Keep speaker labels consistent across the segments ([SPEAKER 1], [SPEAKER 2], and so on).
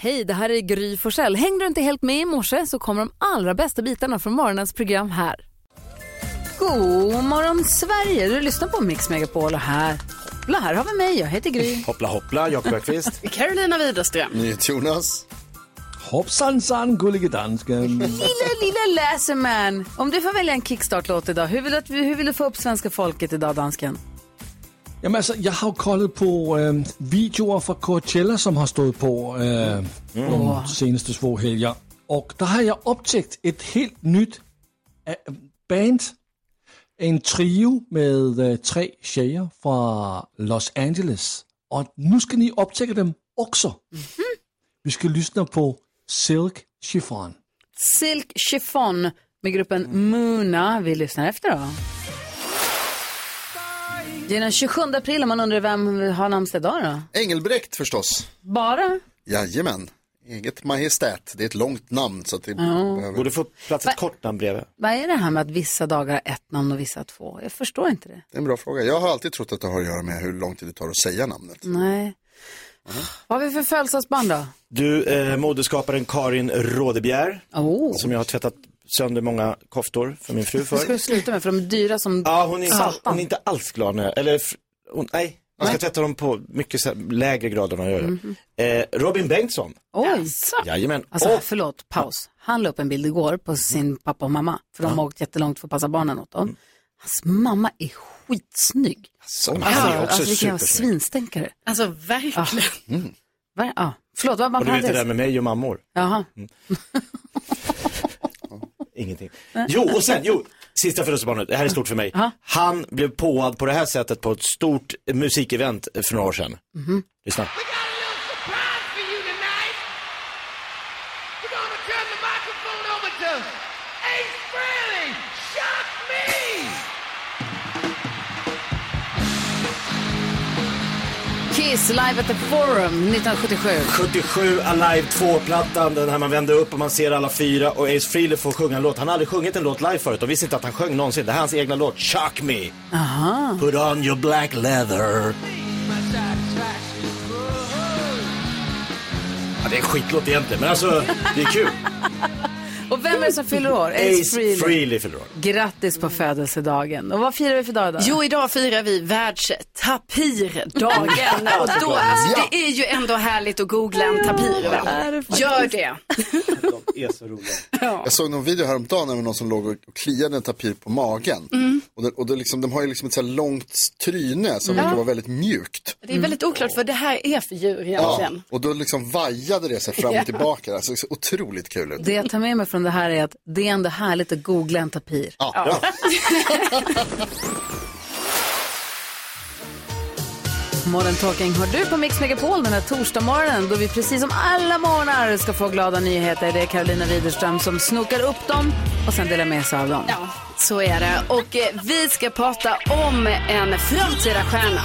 [SPEAKER 1] Hej, det här är Gry Forssell. Hängde du inte helt med i morse så kommer de allra bästa bitarna från morgonens program här. God morgon Sverige, du lyssnar på Mix Megapol och här, hoppla, här har vi mig, jag heter Gry.
[SPEAKER 2] Hoppla hoppla, Jakob Öqvist.
[SPEAKER 3] Carolina Widerström.
[SPEAKER 2] Jonas.
[SPEAKER 4] Hoppsansan gullige dansken.
[SPEAKER 1] Lilla, lilla läserman. Om du får välja en kickstart-låt idag, hur vill, du, att vi- hur vill du få upp svenska folket idag, dansken?
[SPEAKER 4] Jamen altså, jeg alltså, har jo kollet på øh, videoer fra Coachella, som har stået på øh, de seneste två helger. Og der har jeg optäckt et helt nyt øh, band. En trio med øh, tre tjejer fra Los Angeles. Og nu skal ni optäcka dem også. Vi skal lyssna på Silk Chiffon.
[SPEAKER 1] Silk Chiffon med gruppen Muna. Vi lyssnar efter då. Det är den 27 april om man undrar vem har namnsdag idag då?
[SPEAKER 5] Engelbrekt förstås.
[SPEAKER 1] Bara?
[SPEAKER 5] Jajamän. Eget majestät. Det är ett långt namn så att det behöver...
[SPEAKER 2] Borde få plats ett kort namn bredvid.
[SPEAKER 1] Vad är det här med att vissa dagar har ett namn och vissa två? Jag förstår inte det.
[SPEAKER 5] Det är en bra fråga. Jag har alltid trott att det har att göra med hur lång tid det tar att säga namnet.
[SPEAKER 1] Nej. Vad har vi för födelsedagsbarn då?
[SPEAKER 2] Du, eh, modeskaparen Karin Rådebjer,
[SPEAKER 1] Oh.
[SPEAKER 2] som jag har tvättat sönder många koftor för min fru
[SPEAKER 1] Det ska du
[SPEAKER 2] för.
[SPEAKER 1] sluta med för de är dyra som
[SPEAKER 2] Ja, hon är, inte,
[SPEAKER 1] satan.
[SPEAKER 2] hon är inte alls glad när jag, eller, f- hon, nej, jag ska tvätta dem på mycket så här lägre grad än vad jag gör. Eh, Robin Bengtsson,
[SPEAKER 1] Oj.
[SPEAKER 2] jajamän.
[SPEAKER 1] Alltså,
[SPEAKER 2] Och
[SPEAKER 1] förlåt, paus. Han la upp en bild igår på sin pappa och mamma, för de har åkt jättelångt för att passa barnen åt dem. Hans mamma är skitsnygg.
[SPEAKER 2] så,
[SPEAKER 1] Ja,
[SPEAKER 2] han är också
[SPEAKER 1] alltså vilken jävla
[SPEAKER 2] supersnygg.
[SPEAKER 1] svinstänkare.
[SPEAKER 3] Alltså verkligen.
[SPEAKER 1] Va? Ja. Förlåt, vad var
[SPEAKER 2] Och du vet det där
[SPEAKER 1] parentes?
[SPEAKER 2] med Mm. mig och mammor.
[SPEAKER 1] Jaha.
[SPEAKER 2] Ingenting. Jo, och sen, jo, sista födelsebarnet, det här är stort för mig. Han blev påad på det här sättet på ett stort musikevent för några år sedan. Lyssna.
[SPEAKER 6] surprise for you tonight. We're gonna turn the microphone over to Ace Frehley. Shock me!
[SPEAKER 1] Kiss live at the Forum 1977.
[SPEAKER 2] 77 Alive 2-plattan, den här man vänder upp och man ser alla fyra och Ace Frehley får sjunga en låt. Han har aldrig sjungit en låt live förut och visste inte att han sjöng någonsin. Det här är hans egna låt, Shock Me. Put on your black leather. Ja, det är en skitlåt egentligen, men alltså det är kul.
[SPEAKER 1] Och vem är det som fyller år?
[SPEAKER 2] Ace
[SPEAKER 1] Frehley.
[SPEAKER 2] Frehley fyller år.
[SPEAKER 1] Grattis på födelsedagen. Och vad firar vi för dag idag?
[SPEAKER 3] Jo, idag firar vi världstapirdagen. Och då, alltså, det är ju ändå härligt att googla en tapir. va? Gör det.
[SPEAKER 2] De är så roliga.
[SPEAKER 5] Jag såg någon video häromdagen med någon som låg och och kliade en tapir på magen.
[SPEAKER 7] Mm.
[SPEAKER 3] Mm.
[SPEAKER 5] Och, det, och det liksom, de har ju liksom ett så här långt tryne som verkar vara väldigt mjukt. Mm.
[SPEAKER 7] Det är väldigt oklart vad det här är för
[SPEAKER 5] Ja.
[SPEAKER 7] djur egentligen.
[SPEAKER 5] Och då liksom vajade det sig fram och tillbaka. Alltså, det såg otroligt kul ut.
[SPEAKER 1] Det jag tar med mig från det här är att det är ändå härligt att googla en tapir.
[SPEAKER 5] Ja.
[SPEAKER 1] Morgon Talking har du på Mix Megapol den här torsdagsmorgonen då vi precis som alla morgnar ska få glada nyheter. Det är Carolina Widerström som snokar upp dem och sen delar med sig av dem.
[SPEAKER 7] Ja, så är det. Och eh, vi ska prata om en framtida stjärna.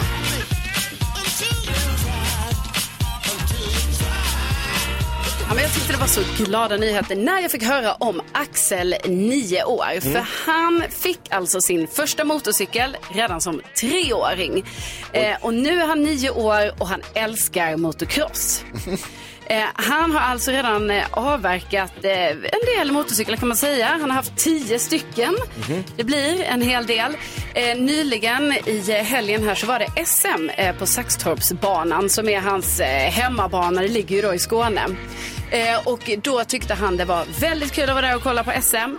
[SPEAKER 7] Ja, men jag tyckte det var så glada nyheter när jag fick höra om Axel, 9 år. För han fick alltså sin första motorcykel redan som treåring. Eh, och nu är han 9 år och han älskar motocross. Eh, han har alltså redan eh, avverkat eh, en del motorcyklar kan man säga. Han har haft tio stycken.
[SPEAKER 6] Mm.
[SPEAKER 7] Det blir en hel del. Eh, nyligen i eh, helgen här så var det SM eh, på Saxtorpsbanan som är hans eh, hemmabana. Det ligger ju då i Skåne. Eh, och då tyckte han det var väldigt kul att vara där och kolla på SM.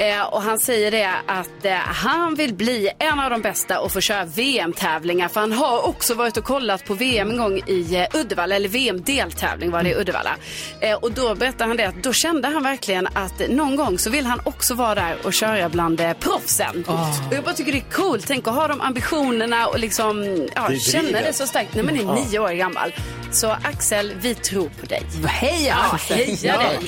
[SPEAKER 7] Eh, och han säger det att eh, han vill bli en av de bästa och få köra VM-tävlingar. För han har också varit och kollat på VM en gång i eh, Uddevalla, eller VM-deltävling var det i Uddevalla. Eh, och då berättar han det att då kände han verkligen att eh, någon gång så vill han också vara där och köra bland eh, proffsen. Och jag bara tycker det är coolt. Tänk att ha de ambitionerna och liksom ja,
[SPEAKER 2] drivet.
[SPEAKER 7] känna det Ah. så starkt när man är nio år gammal. Så Axel, vi tror på dig.
[SPEAKER 1] Heja!
[SPEAKER 7] Ja, heja dig!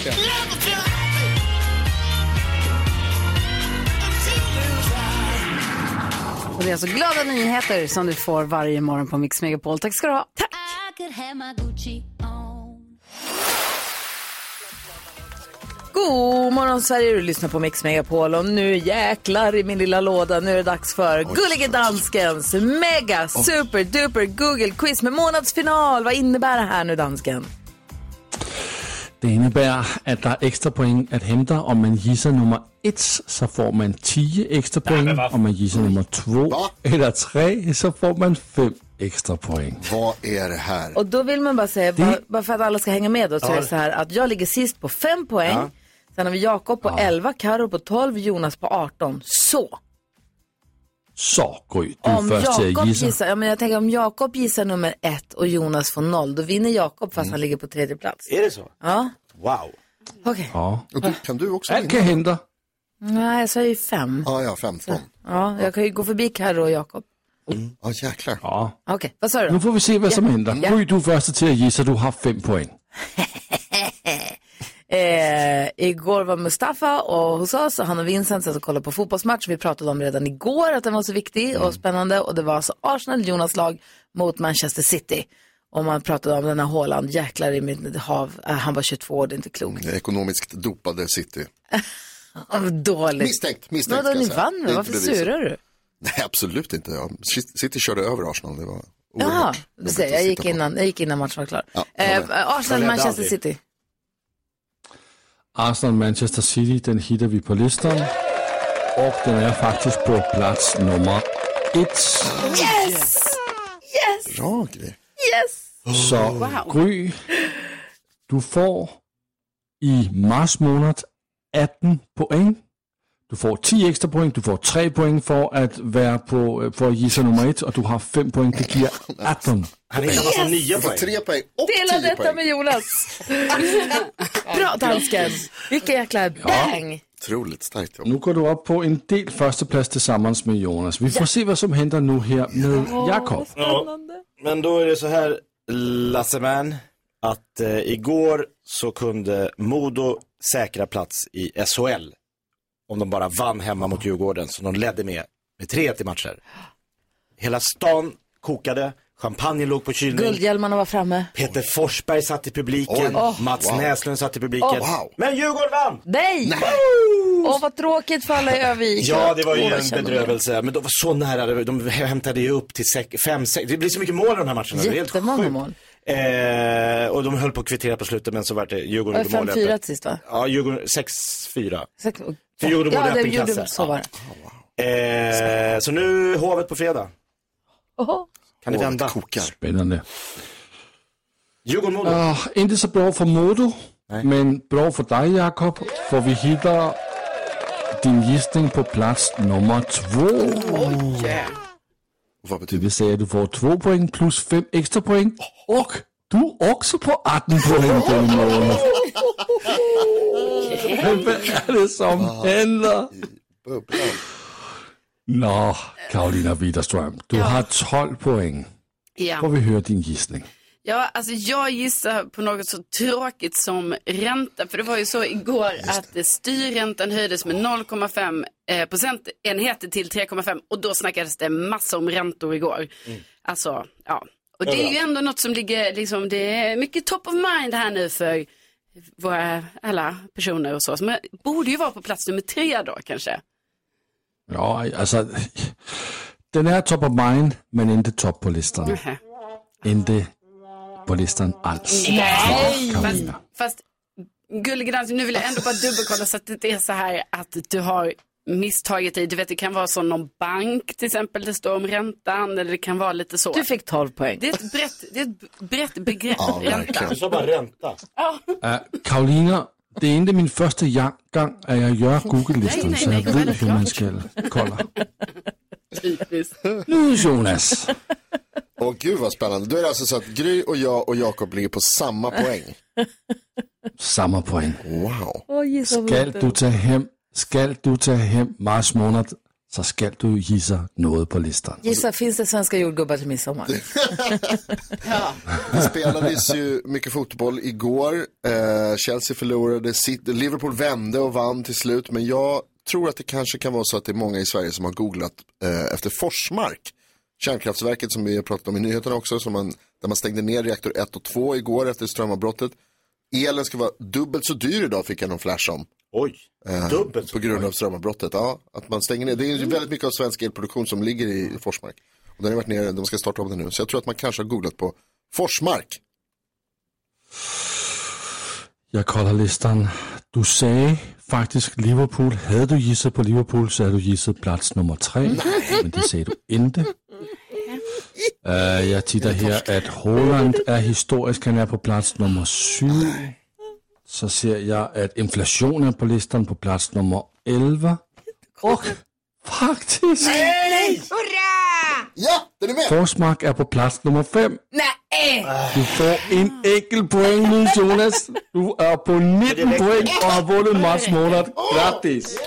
[SPEAKER 1] Och det är alltså glada nyheter som du får varje morgon på Mix Megapol. Tack ska du ha. Tack.
[SPEAKER 8] God morgon Sverige, du lyssnar på Mix Megapol och nu jäklar i min lilla låda, nu är det dags för Gullige Danskens mega super duper Google quiz med månadsfinal. Vad innebär det här nu dansken?
[SPEAKER 4] Det innebär att det är extra poäng att hämta. Om man gissar nummer ett så får man 10 extra poäng. Om man gissar nummer två eller tre så får man fem extra poäng.
[SPEAKER 5] Vad är det här?
[SPEAKER 1] Och då vill man bara säga, bara, bara för att alla ska hänga med då, så
[SPEAKER 4] Ja.
[SPEAKER 1] är det så här att jag ligger sist på 5 poäng. Sen har vi Jakob på 11, Karo på 12, Jonas på 18. Så!
[SPEAKER 4] Så Gry, du är
[SPEAKER 1] Om
[SPEAKER 4] först till
[SPEAKER 1] Jakob
[SPEAKER 4] att gissa.
[SPEAKER 1] gissar, ja, men jag tänker om Jakob gissar nummer 1 och Jonas får 0, då vinner Jakob
[SPEAKER 4] Mm.
[SPEAKER 1] fast han ligger på tredje plats.
[SPEAKER 2] Är det så?
[SPEAKER 1] Ja,
[SPEAKER 2] Wow.
[SPEAKER 1] okej.
[SPEAKER 4] Ja.
[SPEAKER 5] Kan du också
[SPEAKER 4] Allt kan hända.
[SPEAKER 1] Nej, jag sa ju 5.
[SPEAKER 5] Ja, ja, 15.
[SPEAKER 1] Ja, jag kan ju gå förbi Karo och Jakob.
[SPEAKER 5] Ja, jäklar.
[SPEAKER 4] Ja.
[SPEAKER 1] Okej, vad sa du
[SPEAKER 4] Nu
[SPEAKER 1] då?
[SPEAKER 4] får vi se vad som händer. Gry, du är först till att gissa. Du har fem poäng.
[SPEAKER 1] Eh, igår var Mustafa och hos oss och han och Vincent satt och kollade på fotbollsmatch. Vi pratade om redan igår att den var så viktig
[SPEAKER 5] Mm.
[SPEAKER 1] och spännande och det var alltså Arsenal, Jonas lag, mot Manchester City. Och man pratade om den här Haaland, jäklar i mitt hav, Eh, han var 22 år, det är inte klokt.
[SPEAKER 5] Det är Ekonomiskt dopade city.
[SPEAKER 1] Ah, vad dåligt.
[SPEAKER 5] Misstänkt, misstänkt.
[SPEAKER 1] Vadå,
[SPEAKER 5] ska jag
[SPEAKER 1] ni
[SPEAKER 5] säga.
[SPEAKER 1] vann
[SPEAKER 5] Det är
[SPEAKER 1] väl?
[SPEAKER 5] inte
[SPEAKER 1] Varför
[SPEAKER 5] bevisat.
[SPEAKER 1] surar du?
[SPEAKER 5] Nej, absolut inte. Ja, City körde över Arsenal. Det var
[SPEAKER 1] Jaha,
[SPEAKER 5] oerhört
[SPEAKER 1] du
[SPEAKER 5] jobbigt
[SPEAKER 1] ser,
[SPEAKER 5] att
[SPEAKER 1] jag gick,
[SPEAKER 5] titta på.
[SPEAKER 1] innan, jag gick innan matchen var klar.
[SPEAKER 5] Ja, jag
[SPEAKER 1] eh,
[SPEAKER 5] med.
[SPEAKER 1] Arsenal,
[SPEAKER 2] Jag lärde
[SPEAKER 1] Manchester
[SPEAKER 2] aldrig.
[SPEAKER 1] City.
[SPEAKER 4] Arsenal Manchester City, den hittar vi på listan. Och den är faktiskt på plats nummer ett.
[SPEAKER 5] Bra grej.
[SPEAKER 4] Så Gry, du får i mars månad 18 poäng. Du får 10 extra poäng, du får 3 poäng för att vara på, øh, för att gissa nummer ett och du har 5 poäng, det ger 18.
[SPEAKER 2] Han hittar massa nya
[SPEAKER 5] Jag får
[SPEAKER 2] poäng.
[SPEAKER 5] tre poäng och
[SPEAKER 1] Dela
[SPEAKER 5] tio
[SPEAKER 1] detta
[SPEAKER 5] poäng.
[SPEAKER 1] med Jonas. Bra dansken. Vilken jäkla bang.
[SPEAKER 5] Otroligt starkt jobb.
[SPEAKER 4] Nu går du upp på en del försteplats tillsammans med Jonas. Vi får se vad som händer nu här med Jakob.
[SPEAKER 2] Men då är det så här, Lasseman, att eh, igår så kunde Modo säkra plats i SHL. Om de bara vann hemma mot Djurgården, som de ledde med, med 3-1 i matcher. Hela stan kokade, champagne låg på kylning.
[SPEAKER 1] Guldhjälmarna var framme.
[SPEAKER 2] Peter Forsberg satt i publiken, Mats Näslund satt i publiken.
[SPEAKER 5] wow.
[SPEAKER 2] Men Djurgården vann!
[SPEAKER 1] Nej! Åh, vad tråkigt för alla i Örnsköldsvik.
[SPEAKER 2] Ja, det var ju
[SPEAKER 1] Åh, vad
[SPEAKER 2] en
[SPEAKER 1] känner man.
[SPEAKER 2] bedrövelse. Men de var så nära, de hämtade ju upp till 5-6. Det blir så mycket mål i de här matcherna. Det är helt
[SPEAKER 1] Jättemånga
[SPEAKER 2] sjukt.
[SPEAKER 1] mål.
[SPEAKER 2] Eh, och de höll på att kvittera på slutet men så var det Djurgården
[SPEAKER 1] Var det
[SPEAKER 2] gjorde mål.
[SPEAKER 1] 5-4
[SPEAKER 2] efter.
[SPEAKER 1] sist va?
[SPEAKER 2] Ja, Djurgården 6-4.
[SPEAKER 1] Sex-
[SPEAKER 2] För Djurgården
[SPEAKER 1] Ja, det
[SPEAKER 2] borde haft en
[SPEAKER 1] gjorde
[SPEAKER 2] kasse.
[SPEAKER 1] så var det.
[SPEAKER 2] Eh, så nu Hovet på fredag.
[SPEAKER 1] Oho.
[SPEAKER 2] Kan det vända?
[SPEAKER 5] Året kokar.
[SPEAKER 4] Spännande.
[SPEAKER 2] Djurgården-Modo.
[SPEAKER 4] Ah, inte så bra för Modo, men bra för dig Jakob, för vi hittar din gissning på plats nummer två.
[SPEAKER 5] Och Vad
[SPEAKER 4] Det
[SPEAKER 5] betyder
[SPEAKER 4] vill säga att du får 2 poäng plus 5 extra poäng och du är också på 18 poäng den månaden. Men Vad är det som händer?
[SPEAKER 5] bubblan?
[SPEAKER 4] Nå, Karolina Widerström, du har 12 poäng. Får
[SPEAKER 9] Ja.
[SPEAKER 4] vi höra din gissning?
[SPEAKER 9] ja, alltså jag gissar på något så tråkigt som ränta. För det var ju så igår att eh, styrräntan höjdes med 0,5 eh, procentenheter till 3,5 och då snackades det massor om räntor igår. Alltså, ja. Och det är ju ändå något som ligger, liksom, det är mycket top of mind här nu för våra, alla personer och så. Men borde ju vara på plats nummer tre då kanske.
[SPEAKER 4] Ja, alltså, den är top of mind, men inte topp på listan.
[SPEAKER 9] Nähä.
[SPEAKER 4] Inte på listan alls. Nej! Karolina.
[SPEAKER 9] Fast gullig dans, nu vill jag ändå bara dubbelkolla så att det inte är så här att du har misstagit dig. Du vet, det kan vara som någon bank till exempel, det står om räntan eller det kan vara lite så.
[SPEAKER 1] Du fick 12 poäng.
[SPEAKER 9] Det är ett brett, det är ett brett begrepp,
[SPEAKER 5] Ja,
[SPEAKER 9] räntan.
[SPEAKER 5] verkligen.
[SPEAKER 2] Du sa bara ränta.
[SPEAKER 4] Uh, Karolina, det är inte min första ja- gång att jag gör
[SPEAKER 9] Nej,
[SPEAKER 4] Google-listan,
[SPEAKER 9] nej,
[SPEAKER 4] så jag
[SPEAKER 9] nej,
[SPEAKER 4] vet
[SPEAKER 9] självklart.
[SPEAKER 4] hur man ska kolla.
[SPEAKER 9] Typiskt.
[SPEAKER 4] Nu Jonas,
[SPEAKER 5] Åh gud vad spännande. Då är det alltså så att Gry och jag och Jakob ligger på samma poäng.
[SPEAKER 4] samma poäng.
[SPEAKER 5] Wow.
[SPEAKER 4] Skal du ta hem, skal du ta hem mars månad, så skal du gissa något på listan.
[SPEAKER 1] Gissa, finns det svenska jordgubbar till midsommar?
[SPEAKER 5] Det spelades ju mycket fotboll igår. Eh, Chelsea förlorade, City- Liverpool vände och vann till slut. Men jag tror att det kanske kan vara så att det är många i Sverige som har googlat eh, efter Forsmark. Kärnkraftverket som vi har pratat om i nyheterna också, som man, där man stängde ner reaktor 1 och 2 igår efter strömavbrottet. Elen ska vara dubbelt så dyr idag fick jag någon flash om. Eh,
[SPEAKER 2] Oj, dubbelt
[SPEAKER 5] På
[SPEAKER 2] så. Mm.
[SPEAKER 5] grund av strömavbrottet, ja. Att man stänger ner. Det är ju väldigt mycket av svensk elproduktion som ligger i Forsmark. Och den har varit nere, de ska starta om den nu. Så jag tror att man kanske har googlat på Forsmark.
[SPEAKER 4] Jeg kolder listen. Du sagde faktisk Liverpool. Havde du gisset på Liverpool, så havde du gisset plads nummer tre. Men det sagde du ikke. Uh, jeg titter her, at Holland er historisk. Han er på plads nummer syv. Så ser jeg, at inflationen er på listen på plads nummer 11. Og faktisk,
[SPEAKER 5] Ja, den är med!
[SPEAKER 4] Forsmark er på plads nummer 5.
[SPEAKER 1] Nej!
[SPEAKER 4] Du får en enkelt poäng nu Jonas. Du är på 19 poäng och har vunnit Mats månad. Grattis!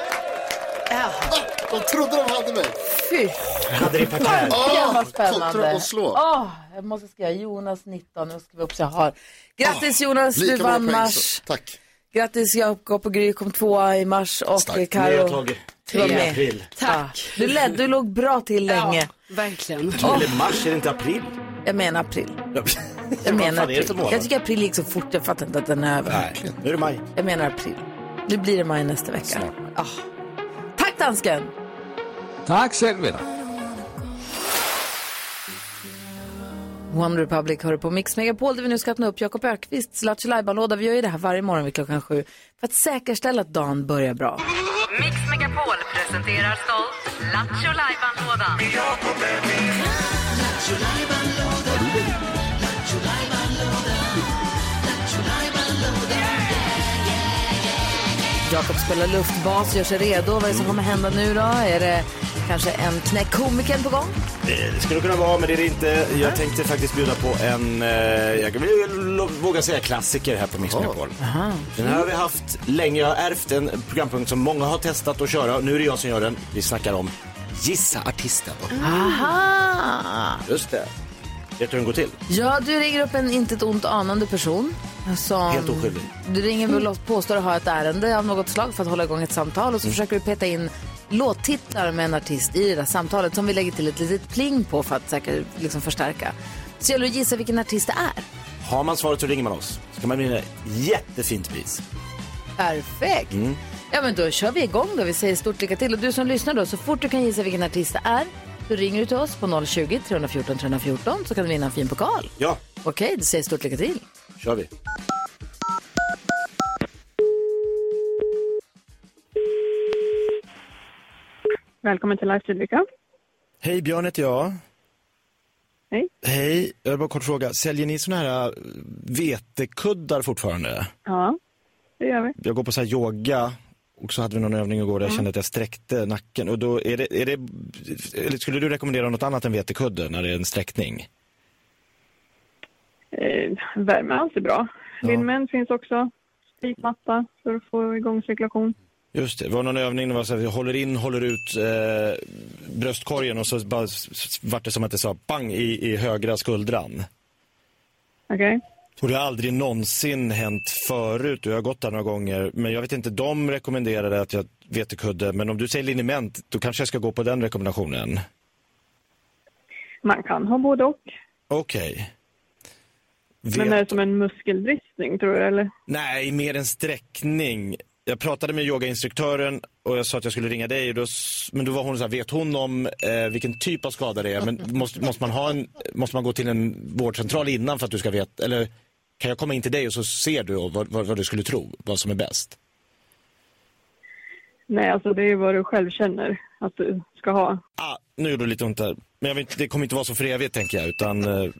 [SPEAKER 5] De trodde de hade mig.
[SPEAKER 1] Fy
[SPEAKER 2] Hade det i parkär.
[SPEAKER 1] fan
[SPEAKER 5] Åh,
[SPEAKER 1] vad
[SPEAKER 5] kontra
[SPEAKER 1] spännande.
[SPEAKER 5] och slå.
[SPEAKER 1] Åh, jag måste skriva Jonas 19, nu skriver jag upp så jag har. Grattis Jonas, du
[SPEAKER 5] Lika många
[SPEAKER 1] vann
[SPEAKER 5] poäng.
[SPEAKER 1] mars.
[SPEAKER 5] så- Tack.
[SPEAKER 1] Grattis Jakob och Gry kom tvåa i mars och eh,
[SPEAKER 2] Nu har jag
[SPEAKER 1] Karo
[SPEAKER 2] tagit
[SPEAKER 1] var
[SPEAKER 2] i
[SPEAKER 1] med.
[SPEAKER 2] april.
[SPEAKER 7] Tack.
[SPEAKER 1] Du, led, du låg bra till länge.
[SPEAKER 7] Verkligen.
[SPEAKER 2] Eller mars, är det inte april?
[SPEAKER 1] Jag menar april.
[SPEAKER 2] Jag
[SPEAKER 1] Jag menar april. Jag tycker april gick så fort, jag fattar inte att den är över.
[SPEAKER 2] Nej, nu är det maj.
[SPEAKER 1] Jag menar april. Nu blir det maj nästa vecka. Ah. Tack dansken!
[SPEAKER 4] Tack själv vänner.
[SPEAKER 1] One Republic hör på Mix Megapol där vi nu ska öppna upp Jakob Ökvists Lattjo Lajban-låda. Vi gör ju det här varje morgon vid klockan sju för att säkerställa att dagen börjar bra.
[SPEAKER 10] Mix Megapol presenterar stolt Lattjo Lajban-lådan.
[SPEAKER 1] Jakob spelar luftbas, gör sig redo. Vad är det som kommer hända nu då? Är det kanske en knäck komikern på gång?
[SPEAKER 2] Eh, Det skulle kunna vara, men det är det inte. Jag tänkte faktiskt bjuda på en, eh, jag vill lo- våga säga klassiker här på Mix Megapol. Den här har vi haft länge. Jag har ärvt en programpunkt som många har testat att köra. Nu är det jag som gör den. Vi snackar om Gissa artisten.
[SPEAKER 1] Aha!
[SPEAKER 2] Just det. Vet du hur den går till?
[SPEAKER 1] Ja, du ringer upp en intet ont anande person. Som
[SPEAKER 2] Helt oskyldig.
[SPEAKER 1] Du ringer väl och påstår att ha ett ärende av något slag för att hålla igång ett samtal och
[SPEAKER 2] Mm.
[SPEAKER 1] så försöker du peta in låttitlar med en artist i det där samtalet som vi lägger till ett litet pling på för att säkert liksom förstärka. Så gäller det att gissa vilken artist det är.
[SPEAKER 2] Har man svaret så ringer man oss. Så kan man vinna ett jättefint pris. Mm.
[SPEAKER 1] Perfekt. Ja, men då kör vi igång då. Vi säger stort lycka till. Och du som lyssnar då, så fort du kan gissa vilken artist det är, så ringer du till oss på 020-314 314 så kan du vinna en fin pokal.
[SPEAKER 2] Ja,
[SPEAKER 1] Okej, du säger stort lycka till.
[SPEAKER 2] kör vi.
[SPEAKER 11] Välkommen till Live Sydvika.
[SPEAKER 2] Hej, Björn heter jag.
[SPEAKER 11] Hej.
[SPEAKER 2] Hej, jag har bara en kort fråga. Säljer ni såna här eh, vetekuddar fortfarande?
[SPEAKER 11] Ja, det gör vi.
[SPEAKER 2] jag går på så här yoga och så hade vi någon övning igår där jag kände att jag sträckte nacken. Och då är det, är det, eller skulle du rekommendera något annat än vetekudde när det är en sträckning?
[SPEAKER 11] Eh, värme är alltid bra. Linmen finns också. Spikmatta för att få igång cirkulation.
[SPEAKER 2] Just det, det var någon övning där det var så här, vi håller in, håller ut eh, bröstkorgen och så bara, s- s- vart det som att det sa bang i, i högra skuldran.
[SPEAKER 11] Okej?
[SPEAKER 2] Och det har aldrig någonsin hänt förut och jag har gått där några gånger. Men jag vet inte, de rekommenderade att jag vetekudde. Men om du säger liniment, då kanske jag ska gå på den rekommendationen.
[SPEAKER 11] Man kan ha både och.
[SPEAKER 2] Okej.
[SPEAKER 11] Men
[SPEAKER 2] Vet-
[SPEAKER 11] är det som en muskelbristning tror du eller?
[SPEAKER 2] Nej, mer en sträckning. Jag pratade med yogainstruktören och jag sa att jag skulle ringa dig. Och då, s- men då var hon så här, vet hon om eh, vilken typ av skada det är? Men måste, måste, man ha en, måste man gå till en vårdcentral innan för att du ska veta? Eller kan jag komma in till dig och så ser du vad, vad, vad du skulle tro, vad som är bäst?
[SPEAKER 11] Nej, alltså det är ju vad du själv känner att du ska ha.
[SPEAKER 2] Ah, nu gjorde det lite ont där. Men jag vet, inte- det kommer inte vara så för evigt tänker jag. Utan, eh,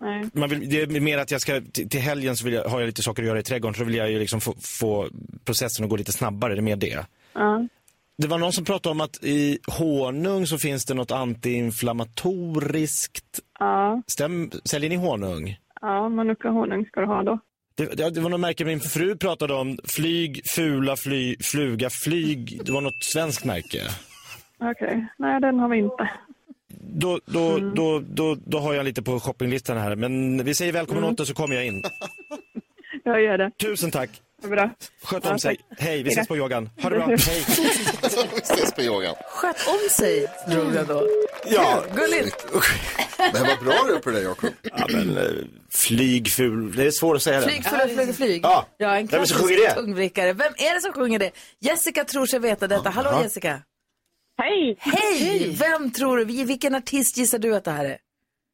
[SPEAKER 11] Nej.
[SPEAKER 2] man vill, det är mer att jag ska, till, till helgen så vill jag, har jag lite saker att göra i trädgården. Så då vill jag ju liksom få, få processen att gå lite snabbare. Det är mer det.
[SPEAKER 11] Ja.
[SPEAKER 2] Det var någon som pratade om att i honung så finns det något antiinflammatoriskt.
[SPEAKER 11] Ja,
[SPEAKER 2] Stäm, säljer ni honung?
[SPEAKER 11] ja manuka honung ska du ha då.
[SPEAKER 2] Det, det, det var något märke min fru pratade om. Flyg, fula, fly, fluga, flyg. Det var något svenskt märke.
[SPEAKER 11] Okej, nej den har vi inte.
[SPEAKER 2] Då, då, då, då, då har jag lite på shoppinglistan här. Men vi säger välkommen åter så kommer jag in.
[SPEAKER 11] Jag gör det.
[SPEAKER 2] Tusen tack.
[SPEAKER 11] Bra.
[SPEAKER 2] Sköt
[SPEAKER 11] Ja,
[SPEAKER 2] om sig. Hej, vi ses på yogan. Ha det bra. Hej.
[SPEAKER 5] Vi ses på yogan.
[SPEAKER 1] Sköt om sig, drog jag då.
[SPEAKER 2] Ja,
[SPEAKER 1] Gulligt.
[SPEAKER 5] Det här var bra du på det Jakob.
[SPEAKER 2] ja men, eh, flyg, ful. Det är svårt att säga det.
[SPEAKER 1] Flyg, fulla, flyg, flyg.
[SPEAKER 2] Ja.
[SPEAKER 1] ja en
[SPEAKER 2] Vem är det som
[SPEAKER 1] klassisk
[SPEAKER 2] sjunger det?
[SPEAKER 1] tungvrickare. Vem är det som sjunger det? Jessica tror sig veta detta. Hallå Jessica.
[SPEAKER 11] Hej!
[SPEAKER 1] Hej! Vem tror du, vilken artist gissar du att det här är?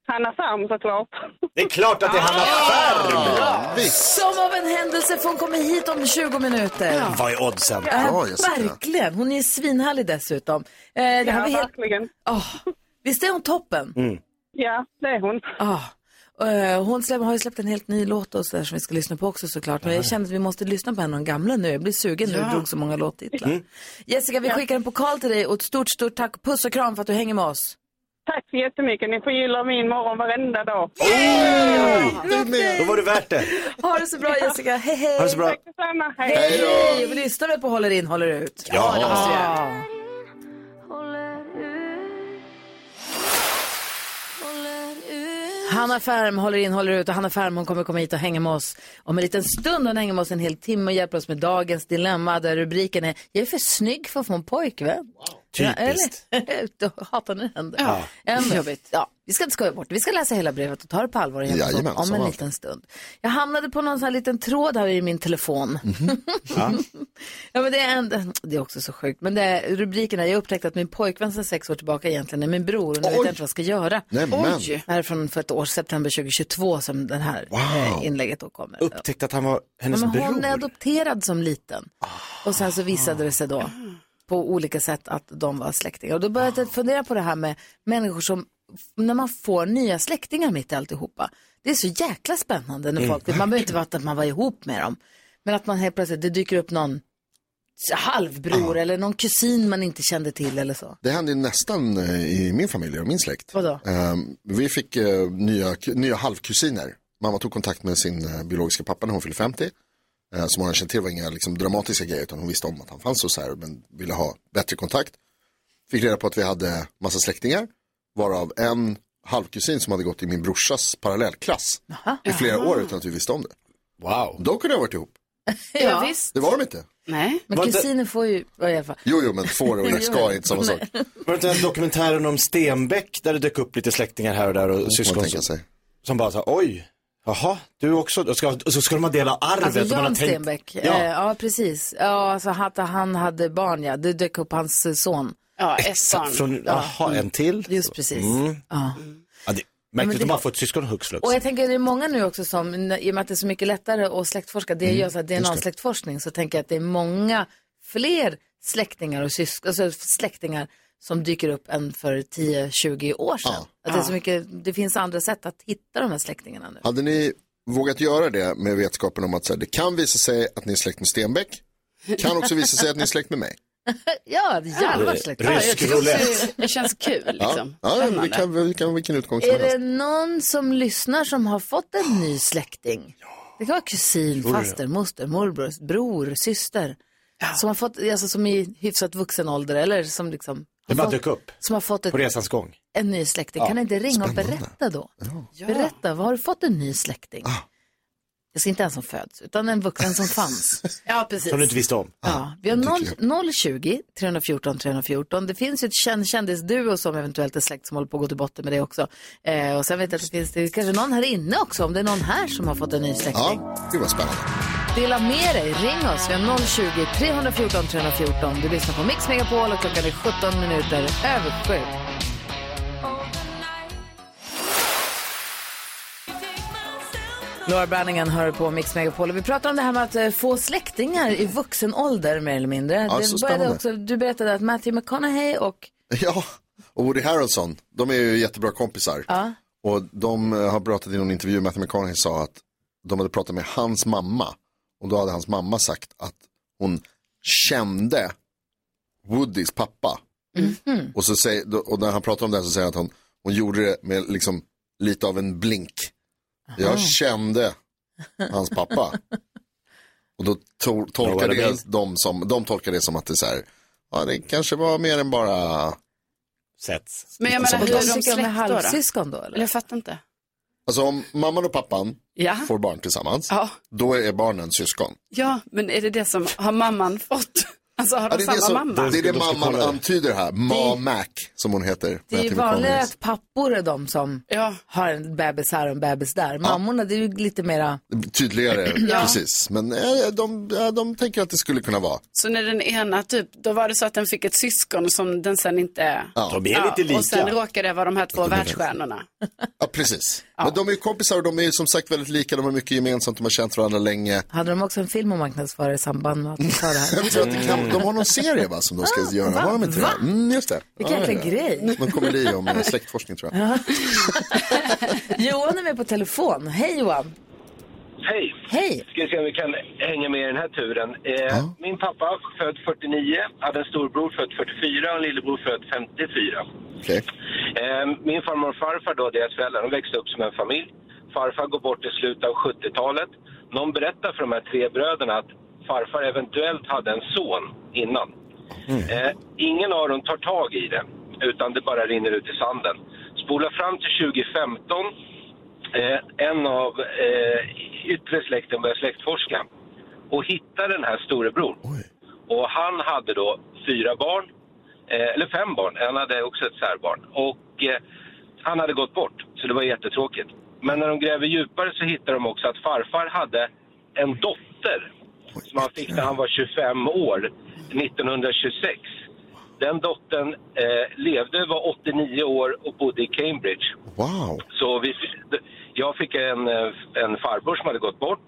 [SPEAKER 11] Hanna Sam såklart.
[SPEAKER 2] Det är klart att det är Hanna Färm!
[SPEAKER 1] Ah! Som av en händelse får hon komma hit om 20 minuter.
[SPEAKER 2] Vad är oddsen?
[SPEAKER 1] Ja,
[SPEAKER 5] Bra, Jessica.
[SPEAKER 1] verkligen. Hon är svinhärlig dessutom. Eh, det här var
[SPEAKER 11] Ja,
[SPEAKER 1] helt...
[SPEAKER 11] verkligen.
[SPEAKER 1] Åh, Visst är hon toppen?
[SPEAKER 5] Mm.
[SPEAKER 11] Ja, det är hon.
[SPEAKER 1] Ah. Eh, Hon släpp, har ju släppt en helt ny låt och så där som vi ska lyssna på också såklart. Men jag kände att vi måste lyssna på en av de gamla nu. Jag blir sugen nu, jag drog så många låttitlar.
[SPEAKER 2] Mm.
[SPEAKER 1] Jessica, vi skickar en pokal till dig och ett stort, stort tack. Puss och kram för att du hänger med oss.
[SPEAKER 11] Tack så jättemycket. Ni förgyller min morgon varenda dag.
[SPEAKER 5] Oh,
[SPEAKER 2] Då var det värt det.
[SPEAKER 1] Ha det så bra Jessica, hej hej!
[SPEAKER 2] Ha det så bra.
[SPEAKER 11] Tack detsamma. Hej.
[SPEAKER 1] Hej! hej. Vi lyssnar väl på Håller in, håller ut?
[SPEAKER 2] Ja.
[SPEAKER 1] Ja. Hanna Färm håller in, håller ut och Hanna Färm hon kommer komma hit och hänga med oss om en liten stund. Hon hänger med oss en hel timme och hjälper oss med dagens dilemma där rubriken är Jag är för snygg för att få en pojkvän.
[SPEAKER 2] Typiskt.
[SPEAKER 1] Ja, eller? Då hatar ni henne. Ja. jobbigt. Ja, vi ska inte skoja bort det. Vi ska läsa hela brevet och ta det på allvar och hjälpas åt
[SPEAKER 5] Jajamän,
[SPEAKER 1] om
[SPEAKER 5] som
[SPEAKER 1] en
[SPEAKER 5] alltid.
[SPEAKER 1] liten stund. Jag hamnade på någon sån här liten tråd här i min telefon. Ja, men det, är en, det är också så sjukt. Men det är rubriken är, jag upptäckte att min pojkvän sedan sex år tillbaka egentligen är min bror och nu vet jag inte vad jag ska göra.
[SPEAKER 5] Nämen.
[SPEAKER 1] Det här är från för ett år, september 2022, som det här eh, inlägget då kommer.
[SPEAKER 2] Upptäckte att han var hennes
[SPEAKER 1] Ja, men hon är
[SPEAKER 2] bror.
[SPEAKER 1] adopterad som liten. Och sen
[SPEAKER 5] Ah.
[SPEAKER 1] så visade det sig då på olika sätt att de var släktingar. Och då började jag fundera på det här med människor som, när man får nya släktingar mitt i alltihopa. Det är så jäkla spännande när
[SPEAKER 5] Mm.
[SPEAKER 1] folk, man behöver inte vara att man var ihop med dem. Men att man helt plötsligt, det dyker upp någon halvbror
[SPEAKER 5] Ah.
[SPEAKER 1] eller någon kusin man inte kände till eller så.
[SPEAKER 5] Det hände ju nästan eh, i min familj och min släkt.
[SPEAKER 1] Vadå?
[SPEAKER 5] Ehm, vi fick eh, nya, nya halvkusiner. Mamma tog kontakt med sin eh, biologiska pappa när hon fyllde 50. Eh, som hon känt till var inga liksom, dramatiska grejer utan hon visste om att han fanns och så här men ville ha bättre kontakt. Fick reda på att vi hade massa släktingar. Varav en halvkusin som hade gått i min brorsas parallellklass i flera år utan att vi visste om det.
[SPEAKER 2] Wow.
[SPEAKER 5] De kunde ha varit ihop.
[SPEAKER 7] Ja, visst.
[SPEAKER 5] Det var de inte.
[SPEAKER 7] Nej.
[SPEAKER 1] Men
[SPEAKER 2] Var det-
[SPEAKER 1] kusiner får ju, ja, i alla fall.
[SPEAKER 5] Jo, jo, men får och ska är inte samma sak.
[SPEAKER 2] Var det inte den dokumentären om Stenbeck där det dök upp lite släktingar här och där och
[SPEAKER 5] Får man
[SPEAKER 2] syskon
[SPEAKER 5] tänka
[SPEAKER 2] som,
[SPEAKER 5] sig.
[SPEAKER 2] som bara sa oj, jaha, du också, och, ska, och så ska de ha del av arvet.
[SPEAKER 1] Alltså
[SPEAKER 2] och man har
[SPEAKER 1] Jan
[SPEAKER 2] tänkt-
[SPEAKER 1] Stenbeck, ja. Eh,
[SPEAKER 2] Ja.
[SPEAKER 1] ja precis. Ja, alltså att han hade barn ja, det dök upp hans eh, son.
[SPEAKER 7] Ja, ett barn.
[SPEAKER 2] Från, jaha, en till.
[SPEAKER 1] Mm.
[SPEAKER 2] Mm.
[SPEAKER 1] Just precis. Ja.
[SPEAKER 2] Ja, det, märkligt
[SPEAKER 1] det-
[SPEAKER 2] att bara få ett syskon hux flux.
[SPEAKER 1] Och jag tänker det är många nu också som, i och med att det är så mycket lättare att släktforska, det gör så att DNA-släktforskning, så tänker jag att det är många fler släktingar och syskon, alltså släktingar som dyker upp än för 10-20 år sedan. Att det, är så mycket, det finns andra sätt att hitta de här släktingarna nu.
[SPEAKER 5] Hade ni vågat göra det med vetskapen om att så här, det kan visa sig att ni är släkt med Stenbeck? Kan också visa sig att ni är släkt med mig.
[SPEAKER 1] Ja, jävlar släktingar.
[SPEAKER 7] Ja, jag
[SPEAKER 2] Rysk
[SPEAKER 7] tycker också
[SPEAKER 2] roulette.
[SPEAKER 7] det- det känns kul liksom.
[SPEAKER 5] Ja, vi
[SPEAKER 7] Spännande.
[SPEAKER 5] kan, vi kan, vilken utgång som
[SPEAKER 1] Är det
[SPEAKER 5] helst.
[SPEAKER 1] någon som lyssnar som har fått en ny släkting? Det kan vara kusin, faster, moster, morbror, bror, syster. Som har fått, alltså som i hyfsat vuxen ålder eller som liksom
[SPEAKER 2] Det bara
[SPEAKER 1] fått-
[SPEAKER 2] dök upp
[SPEAKER 1] som har fått ett,
[SPEAKER 2] på resans gång.
[SPEAKER 1] en ny släkting. Kan ni inte ringa och berätta då? Berätta, vad har du fått en ny släkting?
[SPEAKER 2] Ah.
[SPEAKER 1] Jag ska inte en som föds, utan en vuxen som fanns.
[SPEAKER 7] Ja, precis.
[SPEAKER 2] Som du inte visste om.
[SPEAKER 1] Ja, vi har 0, 020 314 314. Det finns ju ett känd kändisduo som eventuellt är släkt som håller på att gå till botten med det också. Eh, och sen vet jag att det finns det är kanske någon här inne också, om det är någon här som har fått en ny släkting.
[SPEAKER 5] Ja, det var spännande.
[SPEAKER 1] Dela med dig, ring oss. Vi har 020 314 314. Du lyssnar på Mix Megapol och klockan är 17 minuter över 7. Laura Branningen hör på Mix Megapol. Och Vi pratar om det här med att eh, få släktingar i vuxen ålder mer eller mindre. det
[SPEAKER 5] så
[SPEAKER 1] började
[SPEAKER 5] spännande.
[SPEAKER 1] också, du berättade att Matthew McConaughey och
[SPEAKER 5] Ja, och Woody Harrelson, de är ju jättebra kompisar. Och de eh, har pratat i någon intervju med Matthew McConaughey sa att de hade pratat med hans mamma. Och då hade hans mamma sagt att hon kände Woodys pappa. Och, så säger, då- och när han pratar om det här så säger han att hon, hon gjorde det med liksom lite av en blink. Jag kände hans pappa. Och då to- tolkar
[SPEAKER 2] Know what I mean?
[SPEAKER 5] det, de, som, de tolkar det som att det är så här, ja det kanske var mer än bara
[SPEAKER 2] Sätts.
[SPEAKER 7] Men jag menar, hur är de
[SPEAKER 1] syskon med
[SPEAKER 7] släkt då? då?
[SPEAKER 1] halvsyskon då?
[SPEAKER 7] Eller
[SPEAKER 1] Eller?
[SPEAKER 7] jag fattar inte.
[SPEAKER 5] Alltså om mamman och pappan
[SPEAKER 7] Ja.
[SPEAKER 5] får barn tillsammans,
[SPEAKER 7] Ja.
[SPEAKER 5] då är barnen syskon.
[SPEAKER 7] ja, men är det det som har mamman fått?
[SPEAKER 9] Alltså har
[SPEAKER 5] Ja,
[SPEAKER 9] de
[SPEAKER 5] det, är det,
[SPEAKER 9] samma
[SPEAKER 5] som,
[SPEAKER 9] mamma?
[SPEAKER 5] det är det
[SPEAKER 2] Jag ska kolla
[SPEAKER 5] mamman
[SPEAKER 2] det.
[SPEAKER 5] antyder här. Ma Mac, som hon heter.
[SPEAKER 1] Det är ju vanligare
[SPEAKER 5] vanligt.
[SPEAKER 1] att pappor är de som
[SPEAKER 9] Ja.
[SPEAKER 1] har en bebis här och en bebis där. Mammorna, det är ju lite mera...
[SPEAKER 5] Tydligare, precis. Men eh, de, eh, de tänker att det skulle kunna vara.
[SPEAKER 9] Så när den ena, typ, då var det så att den fick ett syskon som den sen inte...
[SPEAKER 5] Ja.
[SPEAKER 2] De är lite
[SPEAKER 9] och sen
[SPEAKER 2] lika.
[SPEAKER 9] råkade det vara de här två världsstjärnorna.
[SPEAKER 5] Ja, precis. Men de är ju kompisar och de är ju som sagt väldigt lika. De har mycket gemensamt, de har känt varandra länge.
[SPEAKER 1] Hade de också en film att marknadsföra i samband med att de sa det här? Mm.
[SPEAKER 5] Jag tror att det kan, de har någon serie va, som de ska göra, har de inte det? Mm, just det.
[SPEAKER 1] Vilken
[SPEAKER 5] Ja,
[SPEAKER 1] jäkla
[SPEAKER 5] ja, ja.
[SPEAKER 1] grej.
[SPEAKER 5] Någon komedi om eh, släktforskning tror jag.
[SPEAKER 1] Johan är med på telefon. Hej Johan!
[SPEAKER 12] Hej!
[SPEAKER 1] Hej!
[SPEAKER 12] Ska se om vi kan hänga med i den här turen. Eh,
[SPEAKER 5] Ja.
[SPEAKER 12] Min pappa född 49, hade en storbror född 44 och en lillebror född 54.
[SPEAKER 5] Okej.
[SPEAKER 12] Eh, min farmor och farfar, då, deras föräldrar, de växte upp som en familj. Farfar går bort i slutet av 70-talet. Någon berättar för de här tre bröderna att farfar eventuellt hade en son innan.
[SPEAKER 2] Mm.
[SPEAKER 12] Eh, ingen av dem tar tag i det, utan det bara rinner ut i sanden. Spola fram till 2015 eh, en av eh, yttre släkten började släktforska och hittade den här storebror. Och han hade då fyra barn, eh, eller fem barn, han hade också ett särbarn. Och eh, han hade gått bort, så det var jättetråkigt. Men när de gräver djupare så hittar de också att farfar hade en dotter som han fick när han var 25 år, 1926. Den dottern eh, levde, var 89 år och bodde i Cambridge.
[SPEAKER 5] Wow.
[SPEAKER 12] Så vi, jag fick en, eh, en farbror som hade gått bort,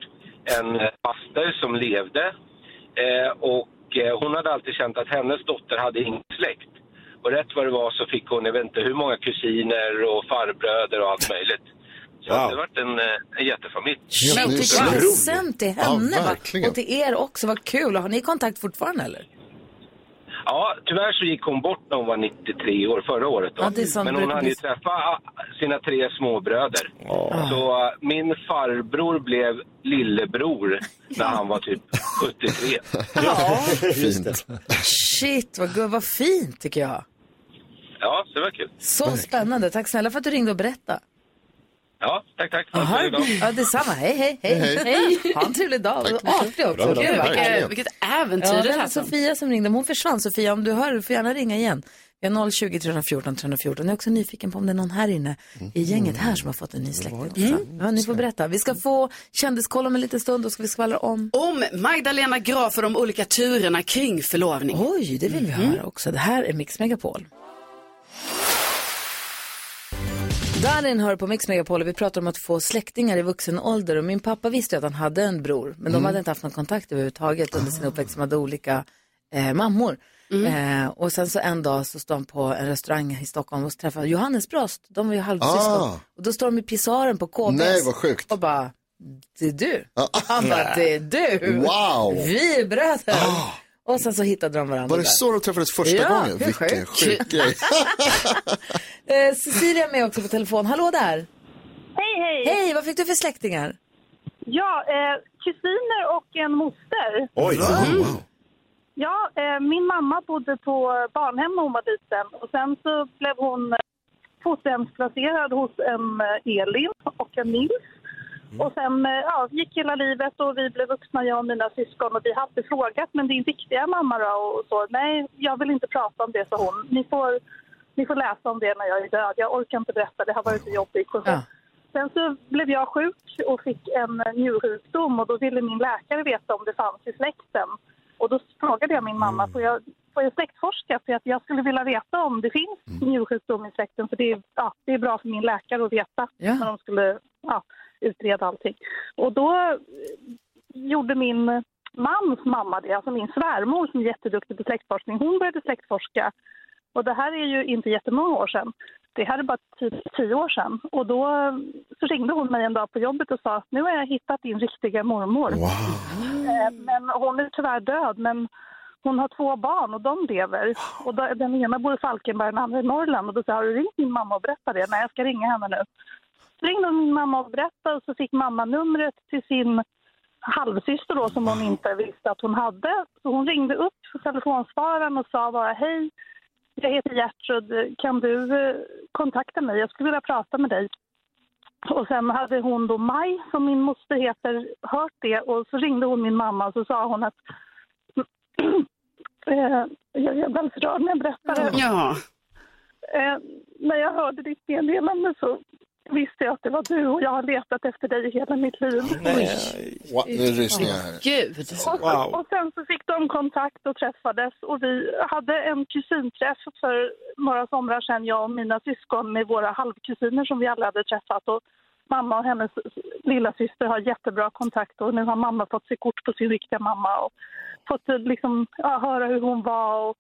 [SPEAKER 12] en eh, faster som levde eh, och eh, hon hade alltid känt att hennes dotter hade ingen släkt. Och rätt vad det var så fick hon, jag vet inte hur många kusiner och farbröder och allt möjligt. Så
[SPEAKER 2] Wow.
[SPEAKER 12] att det vart en, eh, en jättefamilj.
[SPEAKER 1] Men
[SPEAKER 5] det är
[SPEAKER 1] vilken
[SPEAKER 5] så
[SPEAKER 1] present till henne
[SPEAKER 5] Ja,
[SPEAKER 1] va?
[SPEAKER 5] verkligen.
[SPEAKER 1] Och till er också, vad kul. Har ni kontakt fortfarande eller?
[SPEAKER 12] Ja, tyvärr så gick hon bort när hon var 93 år förra året. Då.
[SPEAKER 1] Ja, det är sant.
[SPEAKER 12] Men hon hann ju träffa ah, sina tre småbröder. Så ah, min farbror blev lillebror när han var typ 73.
[SPEAKER 2] Just det.
[SPEAKER 1] Shit, vad, gu- vad fint tycker jag.
[SPEAKER 12] Ja, så det var kul.
[SPEAKER 1] Så spännande. Tack snälla för att du ringde och berättade.
[SPEAKER 12] Ja, tack, tack. Ha
[SPEAKER 1] Aha.
[SPEAKER 12] en trevlig dag.
[SPEAKER 1] Ja, detsamma. Hej, hej, hej. hej. Ha en trevlig dag. Och artig också.
[SPEAKER 5] Bra, bra,
[SPEAKER 1] Kul, va?
[SPEAKER 5] verkligen.
[SPEAKER 9] Vilket, vilket äventyr
[SPEAKER 1] Ja,
[SPEAKER 9] det
[SPEAKER 1] det var
[SPEAKER 9] här som.
[SPEAKER 1] Sofia som ringde. men Hon försvann. Sofia, om du hör, du får gärna ringa igen. Vi har 020 314 314. Jag är också nyfiken på om det är någon här inne
[SPEAKER 5] Mm.
[SPEAKER 1] i gänget här som har fått en ny släkting. Mm. Ja, ni får berätta. Vi ska få kändiskoll om en liten stund och ska vi skvallra om...
[SPEAKER 9] Om Magdalena Graf och de olika turerna kring förlovning.
[SPEAKER 1] Oj, det vill vi höra också. Det här är Mix Megapol. Darin hör på Mix Megapol och vi pratar om att få släktingar i vuxen ålder. Och min pappa visste ju att han hade en bror, men
[SPEAKER 5] Mm.
[SPEAKER 1] de hade inte haft någon kontakt överhuvudtaget under sin uppväxt. De hade olika eh, mammor.
[SPEAKER 5] Mm.
[SPEAKER 1] Eh, och sen så en dag så står han på en restaurang i Stockholm och träffar Johannes Brost. De var ju halvsyskon.
[SPEAKER 5] Ah.
[SPEAKER 1] Och då står de i pisaren på KBS
[SPEAKER 5] Nej, vad sjukt.
[SPEAKER 1] och bara, det är du.
[SPEAKER 5] Ja.
[SPEAKER 1] Han bara, det är du.
[SPEAKER 5] Wow. Ah.
[SPEAKER 1] Vi är bröder. Och sen så hittade de varandra
[SPEAKER 5] Var det
[SPEAKER 1] där.
[SPEAKER 5] så de träffades första
[SPEAKER 1] Ja,
[SPEAKER 5] gången?
[SPEAKER 1] hur
[SPEAKER 5] Vilken
[SPEAKER 1] sjukt.
[SPEAKER 5] sjuk grej.
[SPEAKER 1] Eh, Cecilia är med också på telefon. Hallå där!
[SPEAKER 11] Hej, hej!
[SPEAKER 1] Hej, vad fick du för släktingar?
[SPEAKER 11] Ja, eh, kusiner och en moster. Mm.
[SPEAKER 2] Oj,
[SPEAKER 5] Wow.
[SPEAKER 11] Ja, eh, min mamma bodde på barnhem när hon var liten och sen så blev hon eh, fosterhemsplacerad hos en eh, Elin och en Nils.
[SPEAKER 5] Mm.
[SPEAKER 11] Och sen eh, ja, gick hela livet och vi blev vuxna, jag och mina syskon och vi hade frågat men din riktiga mamma då? Och så, nej, jag vill inte prata om det, sa hon. Ni får, ni får läsa om det när jag är död. Jag orkar inte berätta, det har varit så jobbigt. Och så.
[SPEAKER 1] Ja.
[SPEAKER 11] Sen så blev jag sjuk och fick en eh, njursjukdom och då ville min läkare veta om det fanns i släkten. Och då frågade jag min mamma, får jag, får jag släktforska? För att jag skulle vilja veta om det finns njursjukdom i släkten för det är, ja, det är bra för min läkare att veta
[SPEAKER 1] Ja.
[SPEAKER 11] när de skulle ja, utreda allting. Och då eh, gjorde min mans mamma det, alltså min svärmor som är jätteduktig på släktforskning, hon började släktforska. Och det här är ju inte jättemånga år sedan. Det här är bara typ tio år sedan. Och då så ringde hon mig en dag på jobbet och sa att nu har jag hittat din riktiga mormor.
[SPEAKER 5] wow.
[SPEAKER 11] Eh, Men hon är tyvärr död, men hon har två barn och de lever. Och då- den ena bor i Falkenberg och den andra i Norrland. Och då sa jag, har du ringt min mamma och berättat det? Nej, jag ska ringa henne nu. Så ringde hon min mamma och berättade och så fick mamma numret till sin halvsyster då som hon inte visste att hon hade. Så hon ringde upp telefonsvararen och sa bara hej, jag heter Gertrud, kan du eh, kontakta mig? Jag skulle vilja prata med dig. Och sen hade hon då Maj, som min moster heter, hört det och så ringde hon min mamma och så sa hon att Eh, jag jag blir alldeles rörd när jag berättar det.
[SPEAKER 7] Ja.
[SPEAKER 11] Eh, när jag hörde ditt meddelande så visste jag att det var du och jag har letat efter dig i hela mitt liv.
[SPEAKER 5] Wow, nu rysningar här.
[SPEAKER 7] Gud!
[SPEAKER 11] Och,
[SPEAKER 5] Wow.
[SPEAKER 11] och sen så fick de kontakt och träffades och vi hade en kusinträff för några somrar sedan, jag och mina syskon med våra halvkusiner som vi alla hade träffat. Och mamma och hennes lilla syster har jättebra kontakt och nu har mamma fått se kort på sin riktiga mamma och fått eh, liksom, ja, höra hur hon var och,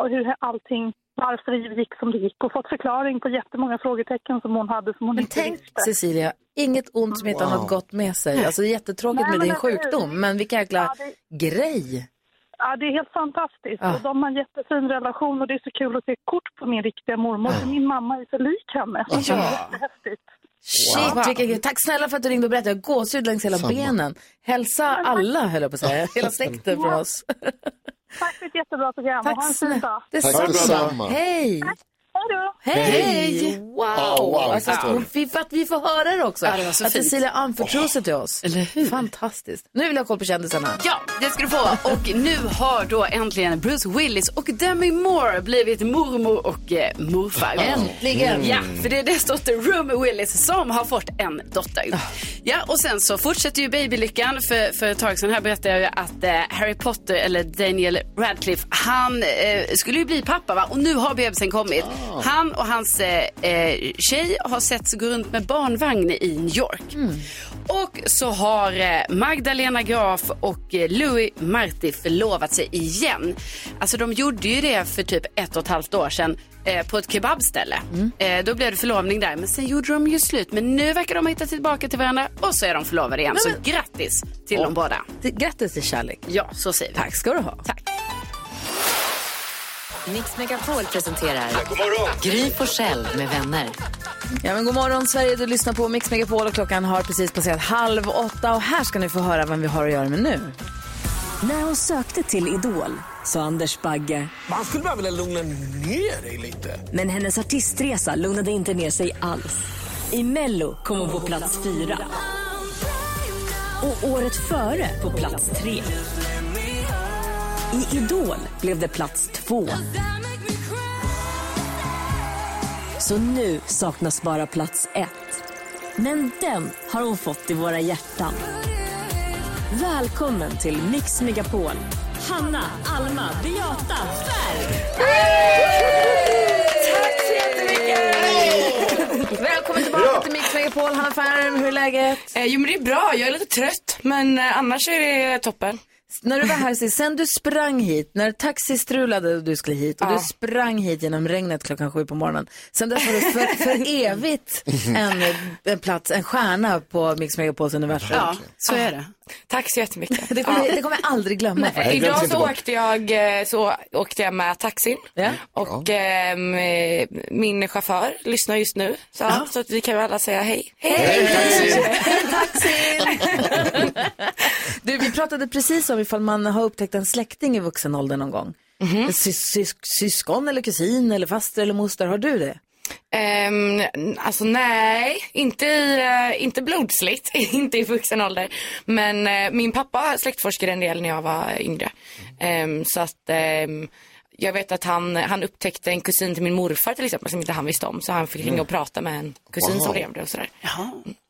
[SPEAKER 11] och hur allting varför det gick som det gick och fått förklaring på jättemånga frågetecken som hon hade som hon inte visste.
[SPEAKER 1] Cecilia, inget ont som inte har något gott med sig. Alltså det är jättetråkigt
[SPEAKER 11] Nej,
[SPEAKER 1] med
[SPEAKER 11] men
[SPEAKER 1] din
[SPEAKER 11] eller hur?
[SPEAKER 1] sjukdom, men vilken jäkla grej.
[SPEAKER 11] Ja, det är helt fantastiskt. Och de har en jättefin relation och det är så kul att se kort på min riktiga mormor. för Min mamma är så lik henne.
[SPEAKER 1] Ja.
[SPEAKER 11] Det är jättehäftigt.
[SPEAKER 1] Shit, vilken grej. Tack snälla för att du ringde och berättade. Jag har gåshud längs hela
[SPEAKER 11] Samma.
[SPEAKER 1] benen. Hälsa alla, höll jag på att säga. Hela släkten från oss.
[SPEAKER 11] Tack för ett jättebra program och ha en fin dag.
[SPEAKER 1] Det är samma. Hej! Hej!
[SPEAKER 11] Hej.
[SPEAKER 1] Wow!
[SPEAKER 11] Ja, wow,
[SPEAKER 1] alltså,
[SPEAKER 11] vilken
[SPEAKER 1] hon- vi, för att vi får höra det också.
[SPEAKER 7] Ja, det var så
[SPEAKER 1] att
[SPEAKER 7] fint.
[SPEAKER 1] Cecilia anförtror sig till oss. Fantastiskt. Nu vill jag ha koll på kändisarna.
[SPEAKER 7] Ja, det ska du få. Och nu har då äntligen Bruce Willis och Demi Moore blivit mormor och eh, morfar.
[SPEAKER 1] Äntligen.
[SPEAKER 7] Ja, för det är deras dotter Rumi Willis som har fått en dotter. Ja, och sen så fortsätter ju babylyckan. För, för ett tag sedan här berättade jag ju att eh, Harry Potter, eller Daniel Radcliffe, han eh, skulle ju bli pappa va? Och nu har bebisen kommit. Han och hans eh, eh, tjej har setts gå runt med barnvagn i New York. Och så har eh, Magdalena Graf och eh, Louis Marti förlovat sig igen. Alltså de gjorde ju det för typ ett och ett halvt år sedan eh, på ett kebabställe.
[SPEAKER 1] Mm.
[SPEAKER 7] Eh, då blev det förlovning där, men sen gjorde de ju slut. Men nu verkar de ha hittat tillbaka till varandra och så är de förlovade igen.
[SPEAKER 1] Nej,
[SPEAKER 7] Så grattis till
[SPEAKER 1] Åh.
[SPEAKER 7] dem båda.
[SPEAKER 1] Grattis till kärlek.
[SPEAKER 7] Ja, så säger vi.
[SPEAKER 1] Tack ska du ha.
[SPEAKER 7] Tack.
[SPEAKER 13] Mix Megapol presenterar
[SPEAKER 2] God morgon.
[SPEAKER 13] Gry Forssell med vänner.
[SPEAKER 1] Ja, men god morgon Sverige, du lyssnar på Mix Megapol och klockan har precis passerat halv åtta och här ska ni få höra vem vi har att göra med nu.
[SPEAKER 14] När hon sökte till Idol sa Anders Bagge
[SPEAKER 4] Man skulle bara vilja lugna ner dig lite.
[SPEAKER 14] Men hennes artistresa lugnade inte ner sig alls. I Mello kom hon på plats fyra. Och året före på plats tre. I Idol blev det plats två. Så nu saknas bara plats ett. Men den har hon fått i våra hjärtan. Välkommen till Mix Megapol. Hanna, Alma, Beata, Färg!
[SPEAKER 1] Tack så jättemycket! Välkommen tillbaka till Mix Megapol, Hanna Färm, hur är läget?
[SPEAKER 15] Eh, jo men det är bra, jag är lite trött men eh, annars är det toppen.
[SPEAKER 1] När du var här sist, sen du sprang hit, när taxi strulade och du skulle hit och
[SPEAKER 15] Ja.
[SPEAKER 1] du sprang hit genom regnet klockan sju på morgonen. Sen dess var du för, för evigt en,
[SPEAKER 15] Mm-hmm.
[SPEAKER 1] en plats, en stjärna på Mix Megapols universum.
[SPEAKER 15] Ja, så är det. Tack så jättemycket.
[SPEAKER 1] Det kommer, det kommer jag aldrig glömma
[SPEAKER 15] Nej,
[SPEAKER 1] faktiskt.
[SPEAKER 15] idag så åkte, jag, eh, så åkte jag med taxin och ehm, eh, min chaufför lyssnar just nu. Så, så att vi kan väl alla säga hej. Hej!
[SPEAKER 1] Du, vi pratade precis om ifall man har upptäckt en släkting i vuxen ålder någon gång.
[SPEAKER 15] Mm-hmm.
[SPEAKER 1] mm syskon eller kusin eller faster eller moster, har du det?
[SPEAKER 15] Ehm, alltså nej, inte, i, eh, inte blodsligt, inte i vuxen ålder. Men eh, min pappa släktforskade en del när jag var yngre. Ehm, så att ehm, jag vet att han, han upptäckte en kusin till min morfar till exempel som inte han visste om. Så han fick
[SPEAKER 7] Mm.
[SPEAKER 15] ringa och prata med en kusin som
[SPEAKER 2] Wow.
[SPEAKER 15] levde och sådär.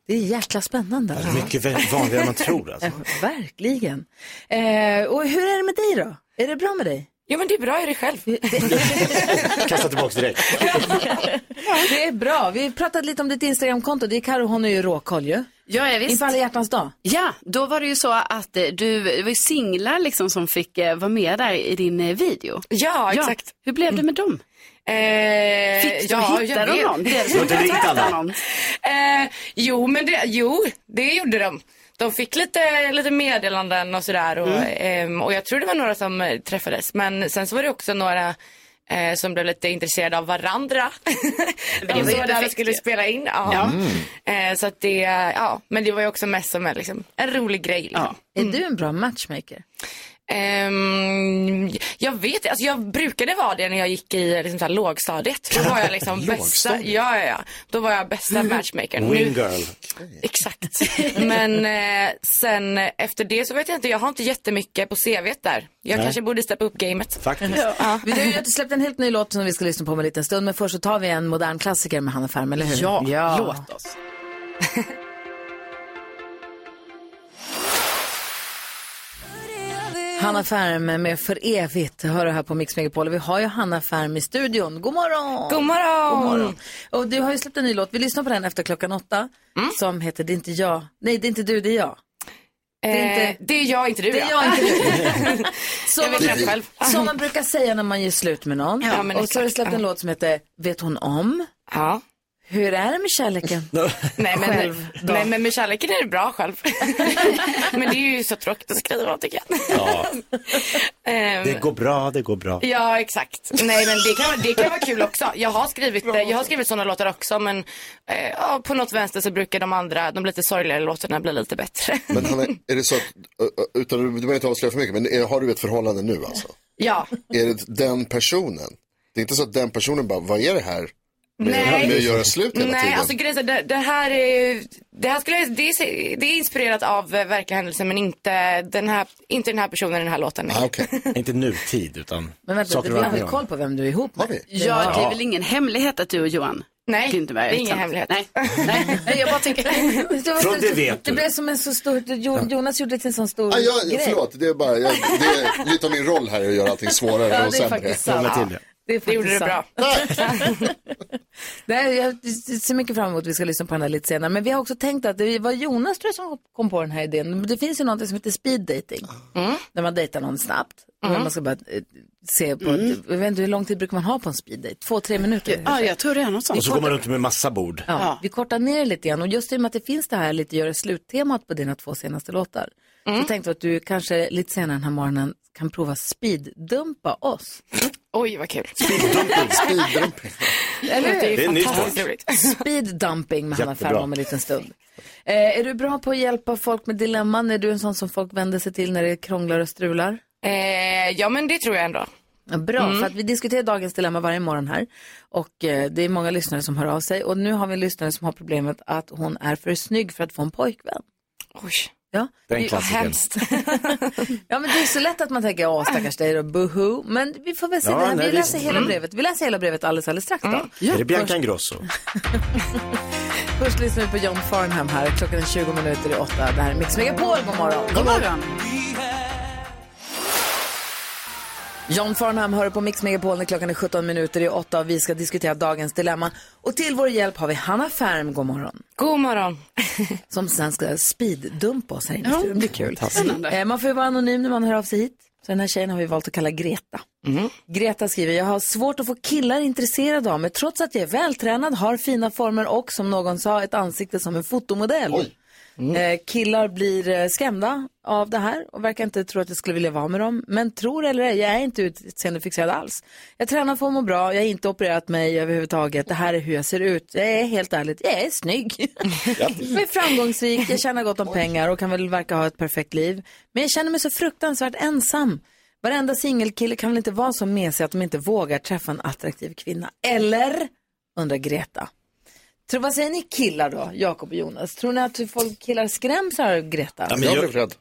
[SPEAKER 1] Det är jäkla spännande.
[SPEAKER 2] Det är mycket vä- vanligare än man tror alltså.
[SPEAKER 1] Verkligen. Eh, och hur är det med dig då? Är det bra med dig?
[SPEAKER 15] Ja men det är bra, är det själv?
[SPEAKER 2] Kasta tillbaka direkt.
[SPEAKER 1] Det är bra. Vi pratade lite om ditt Instagramkonto. Det är Karo, hon är ju råkoll ju.
[SPEAKER 7] Ja, ja, visst.
[SPEAKER 1] Inför alla hjärtans dag.
[SPEAKER 7] Ja, då var det ju så att eh, du, det var ju singlar liksom som fick eh, vara med där i din eh, video.
[SPEAKER 15] Ja, exakt.
[SPEAKER 7] Hur blev det med dem?
[SPEAKER 15] Eh,
[SPEAKER 7] Fick du, hittade de någon? Blev
[SPEAKER 15] Du
[SPEAKER 7] de kontaktade någon?
[SPEAKER 15] eh, jo, men det, jo, det gjorde de. De fick lite, lite meddelanden och sådär. Och,
[SPEAKER 7] Mm.
[SPEAKER 15] ehm, och jag tror det var några som eh, träffades. Men sen så var det också några eh, som blev lite intresserade av varandra.
[SPEAKER 7] var ju
[SPEAKER 15] de som där
[SPEAKER 7] perfekt
[SPEAKER 15] och skulle
[SPEAKER 7] ju.
[SPEAKER 15] spela in. Ja.
[SPEAKER 2] Mm.
[SPEAKER 15] Eh, så att det, ja, men det var ju också mest som en, liksom, en rolig grej. Liksom.
[SPEAKER 1] Är du en bra matchmaker?
[SPEAKER 15] Ehm, jag vet alltså jag brukade vara det när jag gick i liksom, så här, lågstadiet. Då var jag liksom bästa,
[SPEAKER 16] Lågstadiet?
[SPEAKER 15] ja, ja, ja. Då var jag bästa matchmakern. Nu-
[SPEAKER 2] Wing girl.
[SPEAKER 15] Exakt. Men eh, sen eh, efter det så vet jag inte, jag har inte jättemycket på CV där. Jag
[SPEAKER 1] Nej.
[SPEAKER 15] kanske borde steppa upp gamet.
[SPEAKER 2] Faktiskt.
[SPEAKER 15] Ja.
[SPEAKER 1] Vi har ju släppt en helt ny låt som vi ska lyssna på om en liten stund. Men först så tar vi en modern klassiker med Hanna Ferm, eller hur?
[SPEAKER 15] Ja, låt oss.
[SPEAKER 1] Hanna Ferm med För evigt hör du här på Mix Megapol. Vi har ju Hanna Ferm i studion. God morgon!
[SPEAKER 15] God morgon!
[SPEAKER 1] God morgon. Och du har ju släppt en ny låt. Vi lyssnar på den efter klockan åtta.
[SPEAKER 15] Mm.
[SPEAKER 1] Som heter Det är inte jag. Nej, det är inte du, det är jag.
[SPEAKER 15] Det är, inte... Eh, det är jag, inte du.
[SPEAKER 1] Det är
[SPEAKER 15] ja.
[SPEAKER 1] jag, inte du.
[SPEAKER 15] jag vet rätt själv.
[SPEAKER 1] Som man brukar säga när man gör slut med någon.
[SPEAKER 15] Ja, men
[SPEAKER 1] och så har du
[SPEAKER 15] exakt.
[SPEAKER 1] släppt en
[SPEAKER 15] Ja.
[SPEAKER 1] låt som heter Vet hon om?
[SPEAKER 15] Ja.
[SPEAKER 1] Hur är det med kärleken?
[SPEAKER 15] Nej men,
[SPEAKER 1] Själv då?
[SPEAKER 15] nej men med kärleken är det bra själv. men det är ju så tråkigt att skriva om, tycker jag.
[SPEAKER 2] Ja.
[SPEAKER 15] Ehm,
[SPEAKER 2] Det går bra, det går bra.
[SPEAKER 15] Ja, exakt. Nej, men det kan, det kan vara kul också. Jag har skrivit, eh, jag har skrivit sådana låtar också, men eh, ja, på något vänster så brukar de andra, de lite sorgligare låtarna bli lite bättre.
[SPEAKER 5] Men Hanna, är det så att, ö- ö- utan, du behöver inte avslöja för mycket, men är, har du ett förhållande nu alltså?
[SPEAKER 15] Ja.
[SPEAKER 5] Är det den personen? Det är inte så att den personen bara, vad är det här med,
[SPEAKER 15] Nej.
[SPEAKER 5] med att göra slut hela
[SPEAKER 15] Nej,
[SPEAKER 5] tiden?
[SPEAKER 15] alltså grejen är, det, det här är ju- det här skulle jag, det, är, det är inspirerat av eh, verkliga händelser men inte den här, inte den här personen i den här låten. nej.
[SPEAKER 2] Inte nutid, utan
[SPEAKER 1] Men vänta,
[SPEAKER 2] saker
[SPEAKER 1] vi har
[SPEAKER 2] att
[SPEAKER 1] väl
[SPEAKER 2] göra.
[SPEAKER 1] koll på vem du är ihop med?
[SPEAKER 7] Ja, det är väl ingen hemlighet att du och Johan
[SPEAKER 15] Nej,
[SPEAKER 7] Glintenberg
[SPEAKER 15] det är ingen
[SPEAKER 7] tillsammans?
[SPEAKER 15] hemlighet.
[SPEAKER 7] Nej.
[SPEAKER 1] Nej, jag bara tänker...
[SPEAKER 2] Från det vet
[SPEAKER 1] Det
[SPEAKER 2] du.
[SPEAKER 1] blev som en så stor... Jo- Jonas gjorde det till en sån stor
[SPEAKER 5] Ah,
[SPEAKER 1] grej.
[SPEAKER 5] jag, förlåt, det är bara, jag, det är lite av min roll här att göra allting svårare
[SPEAKER 1] Ja, det är
[SPEAKER 5] och sämre.
[SPEAKER 1] faktiskt sant. Krångla till det. Det, är faktiskt
[SPEAKER 15] gjorde du
[SPEAKER 1] sant.
[SPEAKER 15] bra.
[SPEAKER 1] Det här, jag ser mycket fram emot vi ska lyssna på den här lite senare. Men vi har också tänkt att det var Jonas tror jag, som kom på den här idén. Men Det finns ju något som heter speed dating. När man dejtar någon snabbt.
[SPEAKER 7] Mm.
[SPEAKER 1] När man ska bara eh, se på, jag vet inte hur lång tid brukar man ha på en speed date? Två, tre minuter?
[SPEAKER 7] Ja, jag tror det är något sånt.
[SPEAKER 2] Och så går man runt med massa bord.
[SPEAKER 1] Ja, Vi kortar ner lite grann och just i och med att det finns det här lite göra slut-temat på dina två senaste låtar. Så tänkte jag att du kanske lite senare den här morgonen kan prova speeddumpa oss.
[SPEAKER 15] Oj, vad kul.
[SPEAKER 5] Speeddumping.
[SPEAKER 1] Eller hur?
[SPEAKER 15] Det är Det är en ny fantastiskt sport. roligt.
[SPEAKER 1] Speeddumping med Hanna
[SPEAKER 15] Jättebra.
[SPEAKER 1] Ferm om en liten stund. Eh, är du bra på att hjälpa folk med dilemman? Är du en sån som folk vänder sig till när det krånglar och strular?
[SPEAKER 15] Eh, ja, men det tror jag ändå.
[SPEAKER 1] Ja, bra,
[SPEAKER 15] Mm.
[SPEAKER 1] för att vi diskuterar dagens dilemma varje morgon här. Och eh, det är många lyssnare som hör av sig. Och nu har vi en lyssnare som har problemet att hon är för snygg för att få en pojkvän.
[SPEAKER 15] Oj.
[SPEAKER 1] Ja.
[SPEAKER 15] Den
[SPEAKER 1] Det är ju-
[SPEAKER 15] klassikern.
[SPEAKER 1] hemskt. ja, men det är så lätt att man tänker, åh stackars dig och buhu. Men vi får väl se,
[SPEAKER 2] Ja,
[SPEAKER 1] det här.
[SPEAKER 2] nej,
[SPEAKER 1] vi
[SPEAKER 2] det-
[SPEAKER 1] läser hela
[SPEAKER 2] Mm.
[SPEAKER 1] brevet. Vi läser hela brevet alldeles, alldeles strax då.
[SPEAKER 15] Mm.
[SPEAKER 2] Är det Bianca Ingrosso?
[SPEAKER 1] Först lyssnar vi på John Farnham här. Klockan är 20 minuter i åtta. Det här är Mix Megapol. God morgon.
[SPEAKER 7] God morgon.
[SPEAKER 1] John Farnham hör på Mix Megapol när klockan är 17 minuter i åtta och vi ska diskutera dagens dilemma. Och till vår hjälp har vi Hanna Färm. God morgon.
[SPEAKER 15] God morgon.
[SPEAKER 1] Som sen ska speeddumpa oss här inne.
[SPEAKER 15] Ja.
[SPEAKER 1] Det blir kul.
[SPEAKER 15] Spännande.
[SPEAKER 1] Eh, Man får ju vara anonym när man hör av sig hit. Så den här tjejen har vi valt att kalla Greta.
[SPEAKER 7] Mm.
[SPEAKER 1] Greta skriver, jag har svårt att få killar intresserade av mig trots att jag är vältränad, har fina former och som någon sa ett ansikte som en fotomodell.
[SPEAKER 7] Mm.
[SPEAKER 1] Eh, killar blir eh, skrämda av det här och verkar inte tro att jag skulle vilja vara med dem. Men tror eller ej, jag är inte utseendefixerad alls. Jag tränar för att må bra, jag har inte opererat mig överhuvudtaget. Det här är hur jag ser ut. Jag är helt ärligt, jag är snygg. jag är framgångsrik, jag tjänar gott om pengar och kan väl verka ha ett perfekt liv. Men jag känner mig så fruktansvärt ensam. Varenda singelkille kan väl inte vara så med sig att de inte vågar träffa en attraktiv kvinna? Eller? Undrar Greta. Tror, vad säger ni killar då, Jakob och Jonas? Tror ni att folk killar skräms av Greta?
[SPEAKER 2] Ja, men jag- Jag blev
[SPEAKER 5] rädd.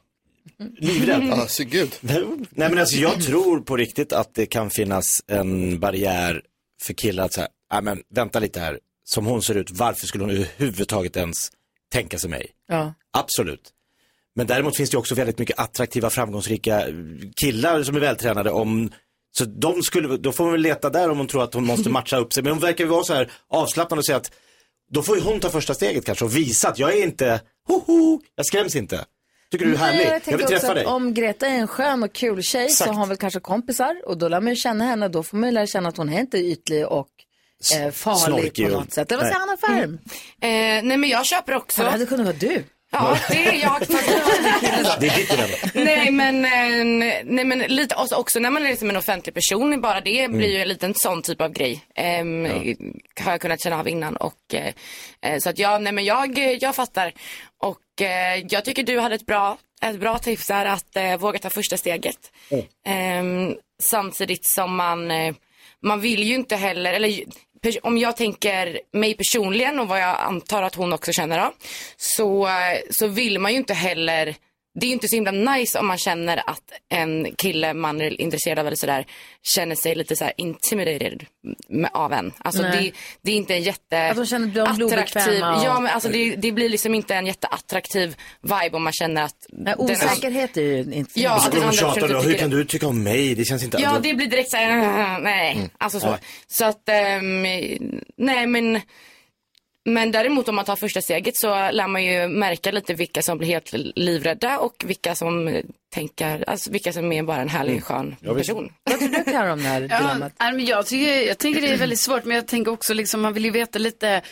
[SPEAKER 2] Livrädd?
[SPEAKER 5] Ja, Ah, så gud.
[SPEAKER 2] Nej men alltså jag tror på riktigt att det kan finnas en barriär för killar att säga, nej men vänta lite här, som hon ser ut, varför skulle hon överhuvudtaget ens tänka sig mig?
[SPEAKER 1] Ja.
[SPEAKER 2] Absolut. Men däremot finns det ju också väldigt mycket attraktiva, framgångsrika eh, killar som är vältränade. Om, så de skulle, då får man väl leta där om hon tror att hon måste matcha upp sig. Men hon verkar ju vara så här avslappnad och säga att då får ju hon ta första steget kanske och visa att jag är inte, hoho, jag skräms inte. Tycker du det är
[SPEAKER 1] Nej,
[SPEAKER 2] härligt?
[SPEAKER 1] jag
[SPEAKER 2] Jag,
[SPEAKER 1] tänker
[SPEAKER 2] vill
[SPEAKER 1] också
[SPEAKER 2] träffa
[SPEAKER 1] att
[SPEAKER 2] dig.
[SPEAKER 1] Om Greta är en skön och kul tjej så
[SPEAKER 2] Exakt.
[SPEAKER 1] har hon väl kanske kompisar och då lär man ju känna henne. Då får man ju lära känna att hon är inte ytlig och eh, farlig
[SPEAKER 15] snorkig
[SPEAKER 1] på
[SPEAKER 15] och-
[SPEAKER 1] något sätt. Eller vad
[SPEAKER 15] Nej.
[SPEAKER 1] säger Hanna Ferm?
[SPEAKER 15] Eh, nej, men jag köper också.
[SPEAKER 1] Det hade kunnat vara du.
[SPEAKER 15] Ja, det är jag.
[SPEAKER 2] Det är ditt dilemma.
[SPEAKER 15] nej, men, eh, nej men lite också, också när man är liksom en offentlig person, bara det blir ju en liten sån typ av grej. Ehm, Har jag kunnat känna av innan. Och, eh, eh, så att jag, nej men jag, jag fattar. Och eh, jag tycker du hade ett bra ett bra tips är att eh, våga ta första steget. Ehm, samtidigt som man, eh, man vill ju inte heller, eller ju- pers- om jag tänker mig personligen och vad jag antar att hon också känner då, så, eh, så vill man ju inte heller, det är ju inte så himla nice om man känner att en kille man är intresserad av eller sådär känner sig lite såhär intimidated med, av en. Alltså
[SPEAKER 1] Nej.
[SPEAKER 15] det, det är inte en jätte
[SPEAKER 1] Eh, Att de känner- de blir
[SPEAKER 15] attraktiv,
[SPEAKER 1] obekväma och-
[SPEAKER 15] ja men alltså det, det blir liksom inte en jätteattraktiv vibe om man känner att
[SPEAKER 1] Nej,
[SPEAKER 15] den-
[SPEAKER 1] osäkerhet är ju inte...
[SPEAKER 15] Ja,
[SPEAKER 2] och så
[SPEAKER 15] att den
[SPEAKER 2] kommer de
[SPEAKER 15] andra
[SPEAKER 2] tjata
[SPEAKER 15] personen
[SPEAKER 2] då.
[SPEAKER 15] tycker
[SPEAKER 2] Hur
[SPEAKER 15] det.
[SPEAKER 2] kan du tycka om mig? Det känns inte... Alltså,
[SPEAKER 15] Ja, det blir direkt så här, nej, alltså så.
[SPEAKER 2] Nej.
[SPEAKER 15] Så att, ehm, nej men, men däremot om man tar första steget så lär man ju märka lite vilka som blir helt livrädda och vilka som tänker, alltså vilka som är bara en härlig skön person.
[SPEAKER 1] Vad tror du Karin om det här
[SPEAKER 7] Ja,
[SPEAKER 1] dilemmat?
[SPEAKER 7] nej, men jag, tycker, jag tänker det är väldigt svårt, men jag tänker också liksom, man vill ju veta lite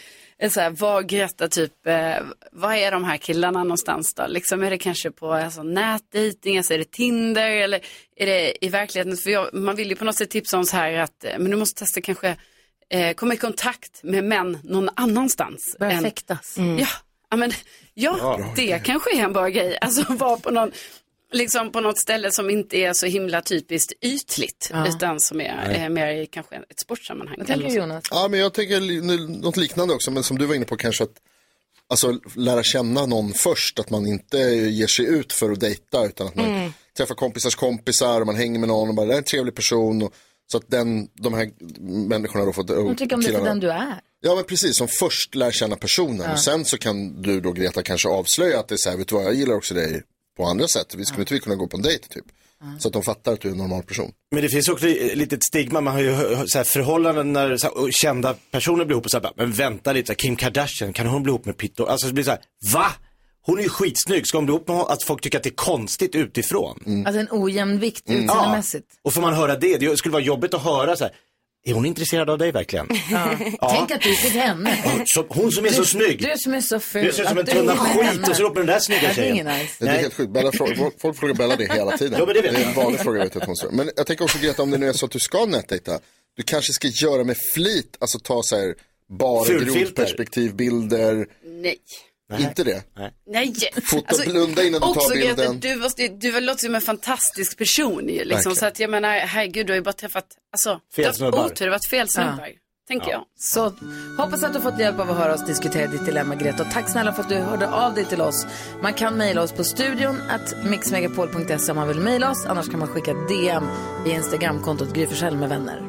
[SPEAKER 7] eh, så här, vag rätta, typ, eh, vad är de här killarna någonstans då? Liksom, är det kanske på alltså, nätdejting, alltså, är det Tinder eller är det i verkligheten? För jag, man vill ju på något sätt tipsa om så här att, eh, men du måste testa kanske, eh, komma i kontakt med män någon annanstans.
[SPEAKER 1] Börja
[SPEAKER 7] än- Mm.
[SPEAKER 1] fäktas.
[SPEAKER 7] Ja, ja, men, ja, det kanske är en bra grej. Alltså vara på någon, liksom på något ställe som inte är så himla typiskt ytligt,
[SPEAKER 5] Ja.
[SPEAKER 7] utan som är
[SPEAKER 5] Nej.
[SPEAKER 7] eh, mer i kanske ett sportsammanhang. eller något sånt.
[SPEAKER 5] Ja, men jag tänker li- nu- något liknande också, men som du var inne på kanske att alltså, lära känna någon först, att man inte ger sig ut för att dejta utan att man
[SPEAKER 16] Mm.
[SPEAKER 5] träffar kompisars kompisar och man hänger med någon och bara, det är en trevlig person. Och, så att den, de här människorna då får...
[SPEAKER 1] De tycker om dig för den du är.
[SPEAKER 5] Ja men precis, som först lär känna personen
[SPEAKER 1] Ja.
[SPEAKER 5] och sen så kan du då Greta kanske avslöja att det är så här, vet du vad, jag gillar också dig på andra sätt. Vi skulle inte vi kunna gå på en dejt typ? Så att de fattar att du är en normal person.
[SPEAKER 2] Men det finns också ett litet stigma, man har ju hö- så här, förhållanden när så här, kända personer blir ihop och så här, bara, men vänta lite, så här, Kim Kardashian, kan hon bli ihop med Pitt Dor-" Alltså det blir så här, va? Hon är ju skitsnygg, ska hon bli ihop med honom? Att folk tycker att det är konstigt utifrån.
[SPEAKER 1] Alltså en ojämn vikt
[SPEAKER 2] Mm.
[SPEAKER 1] utseendemässigt.
[SPEAKER 2] Och får man höra det, det skulle vara jobbigt att höra så här, är hon intresserad av dig verkligen? Ja.
[SPEAKER 1] Tänk att du fick henne.
[SPEAKER 2] Hon som- Hon som är så
[SPEAKER 1] Du-
[SPEAKER 2] snygg.
[SPEAKER 1] Du som är så ful.
[SPEAKER 2] Du ser ut som en
[SPEAKER 1] att du
[SPEAKER 2] tunna
[SPEAKER 1] är med
[SPEAKER 2] skit
[SPEAKER 1] henne.
[SPEAKER 2] och så upp med den där snygga
[SPEAKER 1] Ja, det är
[SPEAKER 2] tjejen.
[SPEAKER 1] ingen nice.
[SPEAKER 5] Det är helt sjukt, Bella, frå- folk- folk frågar Bella det hela tiden.
[SPEAKER 2] Ja, men det vet
[SPEAKER 5] är
[SPEAKER 2] jag.
[SPEAKER 5] en vanlig fråga. Vet jag, att hon ställer. men jag tänker också Greta, om det nu är så att du ska nätdejta, du kanske ska göra med flit, alltså ta så här bara
[SPEAKER 2] Fulfilter.
[SPEAKER 5] grodperspektivbilder,
[SPEAKER 7] Nej.
[SPEAKER 5] inte det?
[SPEAKER 7] Nej. Alltså,
[SPEAKER 5] Fota, blunda innan du tar
[SPEAKER 7] också, Greta,
[SPEAKER 5] bilden.
[SPEAKER 7] Du, måste, ju- du låter som en fantastisk person ju, liksom,
[SPEAKER 5] Verkligen.
[SPEAKER 7] så att jag menar, herregud, du har ju bara träffat, alltså,
[SPEAKER 1] Fel
[SPEAKER 7] du har
[SPEAKER 1] snubbar.
[SPEAKER 7] haft otur, det har varit fel snubbar,
[SPEAKER 1] Ja.
[SPEAKER 7] tänker jag.
[SPEAKER 1] Så hoppas att du har fått hjälp av att höra oss diskutera ditt dilemma Greta. Och tack snälla för att du hörde av dig till oss. Man kan mejla oss på studion at mixmegapol.se om man vill mejla oss. Annars kan man skicka DM i Instagramkontot Gry Forssell med vänner.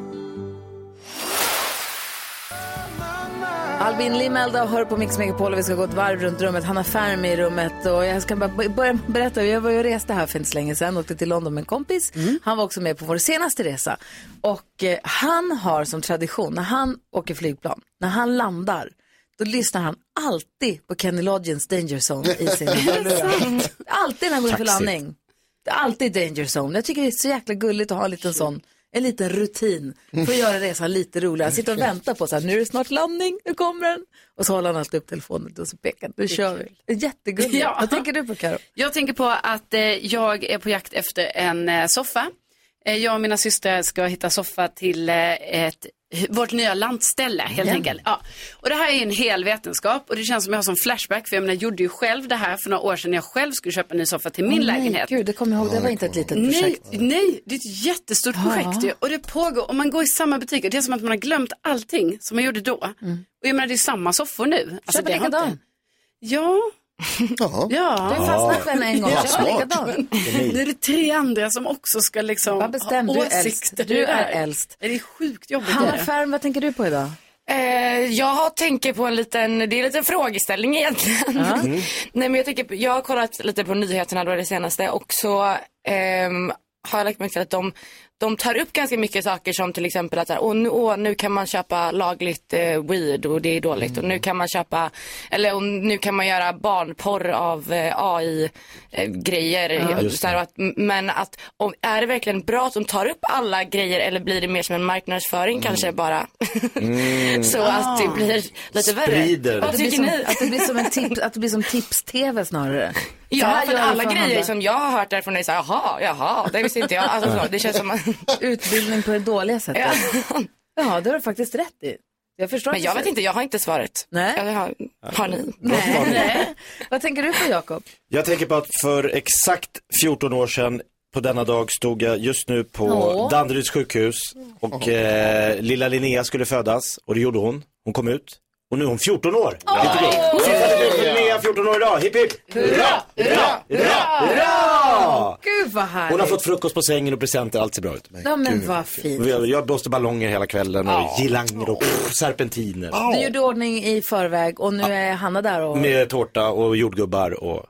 [SPEAKER 1] Albin Limelda hör på Mix Megapol och vi ska gå ett varv runt rummet. Hanna Färm är i rummet och jag ska bara börja med att berätta. Jag var ju och reste här för inte så länge sedan. Åkte till London med en kompis. Han var också med på vår senaste resa. Och eh, han har som tradition när han åker flygplan, när han landar, då lyssnar han alltid på Kenny Loggins Danger Zone i sin hörlurar. Alltid när han går in för
[SPEAKER 16] Taxigt.
[SPEAKER 1] landning. Det är alltid danger zone. Jag tycker det är så jäkla gulligt att ha en liten sån, en liten rutin för att göra resan lite roligare. Sitta och vänta på så här, nu är det snart landning, nu kommer den. Och så håller han alltid upp telefonen och så pekar han, nu kör vi. Det är Jättegulligt.
[SPEAKER 7] Ja.
[SPEAKER 1] Vad tänker du på Karo?
[SPEAKER 7] Jag tänker på att eh, jag är på jakt efter en eh, soffa. Eh, jag och mina systrar ska hitta soffa till eh, ett, vårt nya landställe helt
[SPEAKER 16] Ja.
[SPEAKER 7] enkelt. Ja. Och det här är en hel vetenskap och det känns som jag har som flashback för jag menar, jag gjorde ju själv det här för några år sedan när jag själv skulle köpa en ny soffa till min
[SPEAKER 1] Åh, nej,
[SPEAKER 7] lägenhet.
[SPEAKER 1] Gud, det kommer jag ihåg, det var inte ett litet
[SPEAKER 7] Nej,
[SPEAKER 1] projekt.
[SPEAKER 7] nej, det är ett jättestort projekt ju. Och det pågår, om man går i samma butiker, det är som att man har glömt allting som man gjorde då. Och jag menar det är samma soffor nu. Alltså,
[SPEAKER 1] Köp
[SPEAKER 7] det
[SPEAKER 1] en
[SPEAKER 7] har inte-
[SPEAKER 1] Mm. likadan.
[SPEAKER 7] Ja.
[SPEAKER 5] Ja.
[SPEAKER 7] ja.
[SPEAKER 1] Du fastnade för henne en gång,
[SPEAKER 7] Ja.
[SPEAKER 1] köp en likadan.
[SPEAKER 7] Nu är det tre andra som också ska liksom
[SPEAKER 1] bestämd, du
[SPEAKER 7] ha
[SPEAKER 1] är äldst.
[SPEAKER 7] åsikter.
[SPEAKER 1] Du
[SPEAKER 7] i det här.
[SPEAKER 1] är äldst.
[SPEAKER 7] Det är sjukt jobbigt.
[SPEAKER 1] Hanna
[SPEAKER 7] är det?
[SPEAKER 1] Färm, vad tänker du på idag?
[SPEAKER 15] Eh, jag har- tänker på en liten, det är en liten frågeställning egentligen. Nej men jag tänker, på- jag har kollat lite på nyheterna då det senaste och så ehm, har jag lagt märke till att de, de tar upp ganska mycket saker som till exempel att så här, åh, nu, åh, nu kan man köpa lagligt eh, weed och det är dåligt och nu kan man köpa, eller och nu kan man göra barnporr av eh, AI-grejer.
[SPEAKER 16] Ja, just det.
[SPEAKER 15] att, men att, om, är det verkligen bra att de tar upp alla grejer eller blir det mer som en
[SPEAKER 16] Mm.
[SPEAKER 15] marknadsföring kanske bara? Så att det blir lite
[SPEAKER 1] Sprider.
[SPEAKER 15] värre. Vad
[SPEAKER 1] Att Ah. det blir
[SPEAKER 15] tycker
[SPEAKER 1] som,
[SPEAKER 15] ni?
[SPEAKER 1] att det blir som en tips, att det blir som tips-tv snarare. Så
[SPEAKER 15] Ja,
[SPEAKER 1] här
[SPEAKER 15] för
[SPEAKER 1] gör vi
[SPEAKER 15] alla grejer
[SPEAKER 1] andra.
[SPEAKER 15] som jag har hört därifrån är så här, jaha, jaha, det visste inte jag. Alltså, så, det känns som att...
[SPEAKER 1] Utbildning på det dåliga sättet. Ja, det har du faktiskt rätt i.
[SPEAKER 6] Jag förstår
[SPEAKER 15] Men
[SPEAKER 6] inte
[SPEAKER 15] jag
[SPEAKER 6] så-
[SPEAKER 15] vet inte, jag har inte svaret.
[SPEAKER 6] Nej.
[SPEAKER 15] Jag har, har ni?
[SPEAKER 2] Bra svar.
[SPEAKER 6] Vad tänker du på Jakob?
[SPEAKER 2] Jag tänker på att för exakt 14 år sedan på denna dag stod jag just nu på
[SPEAKER 6] Åh.
[SPEAKER 2] Danderyds sjukhus och eh, lilla Linnea skulle födas och det gjorde hon. Hon kom ut och nu är hon 14 år. Lite gott. Sista debut för Linnea, 14 år idag. Hipp hipp! Hurra! Hurra! Hurra! Hurra!
[SPEAKER 6] Gud vad härligt.
[SPEAKER 2] Hon har fått frukost på sängen och presenter, allt ser bra ut.
[SPEAKER 6] Ja, men Gud, vad vad fint.
[SPEAKER 2] Jag, jag blåste ballonger hela kvällen och
[SPEAKER 6] Ja.
[SPEAKER 2] girlanger och pff, serpentiner.
[SPEAKER 1] Du gjorde ordning i förväg och nu är Hanna där och...
[SPEAKER 2] Med tårta och jordgubbar och...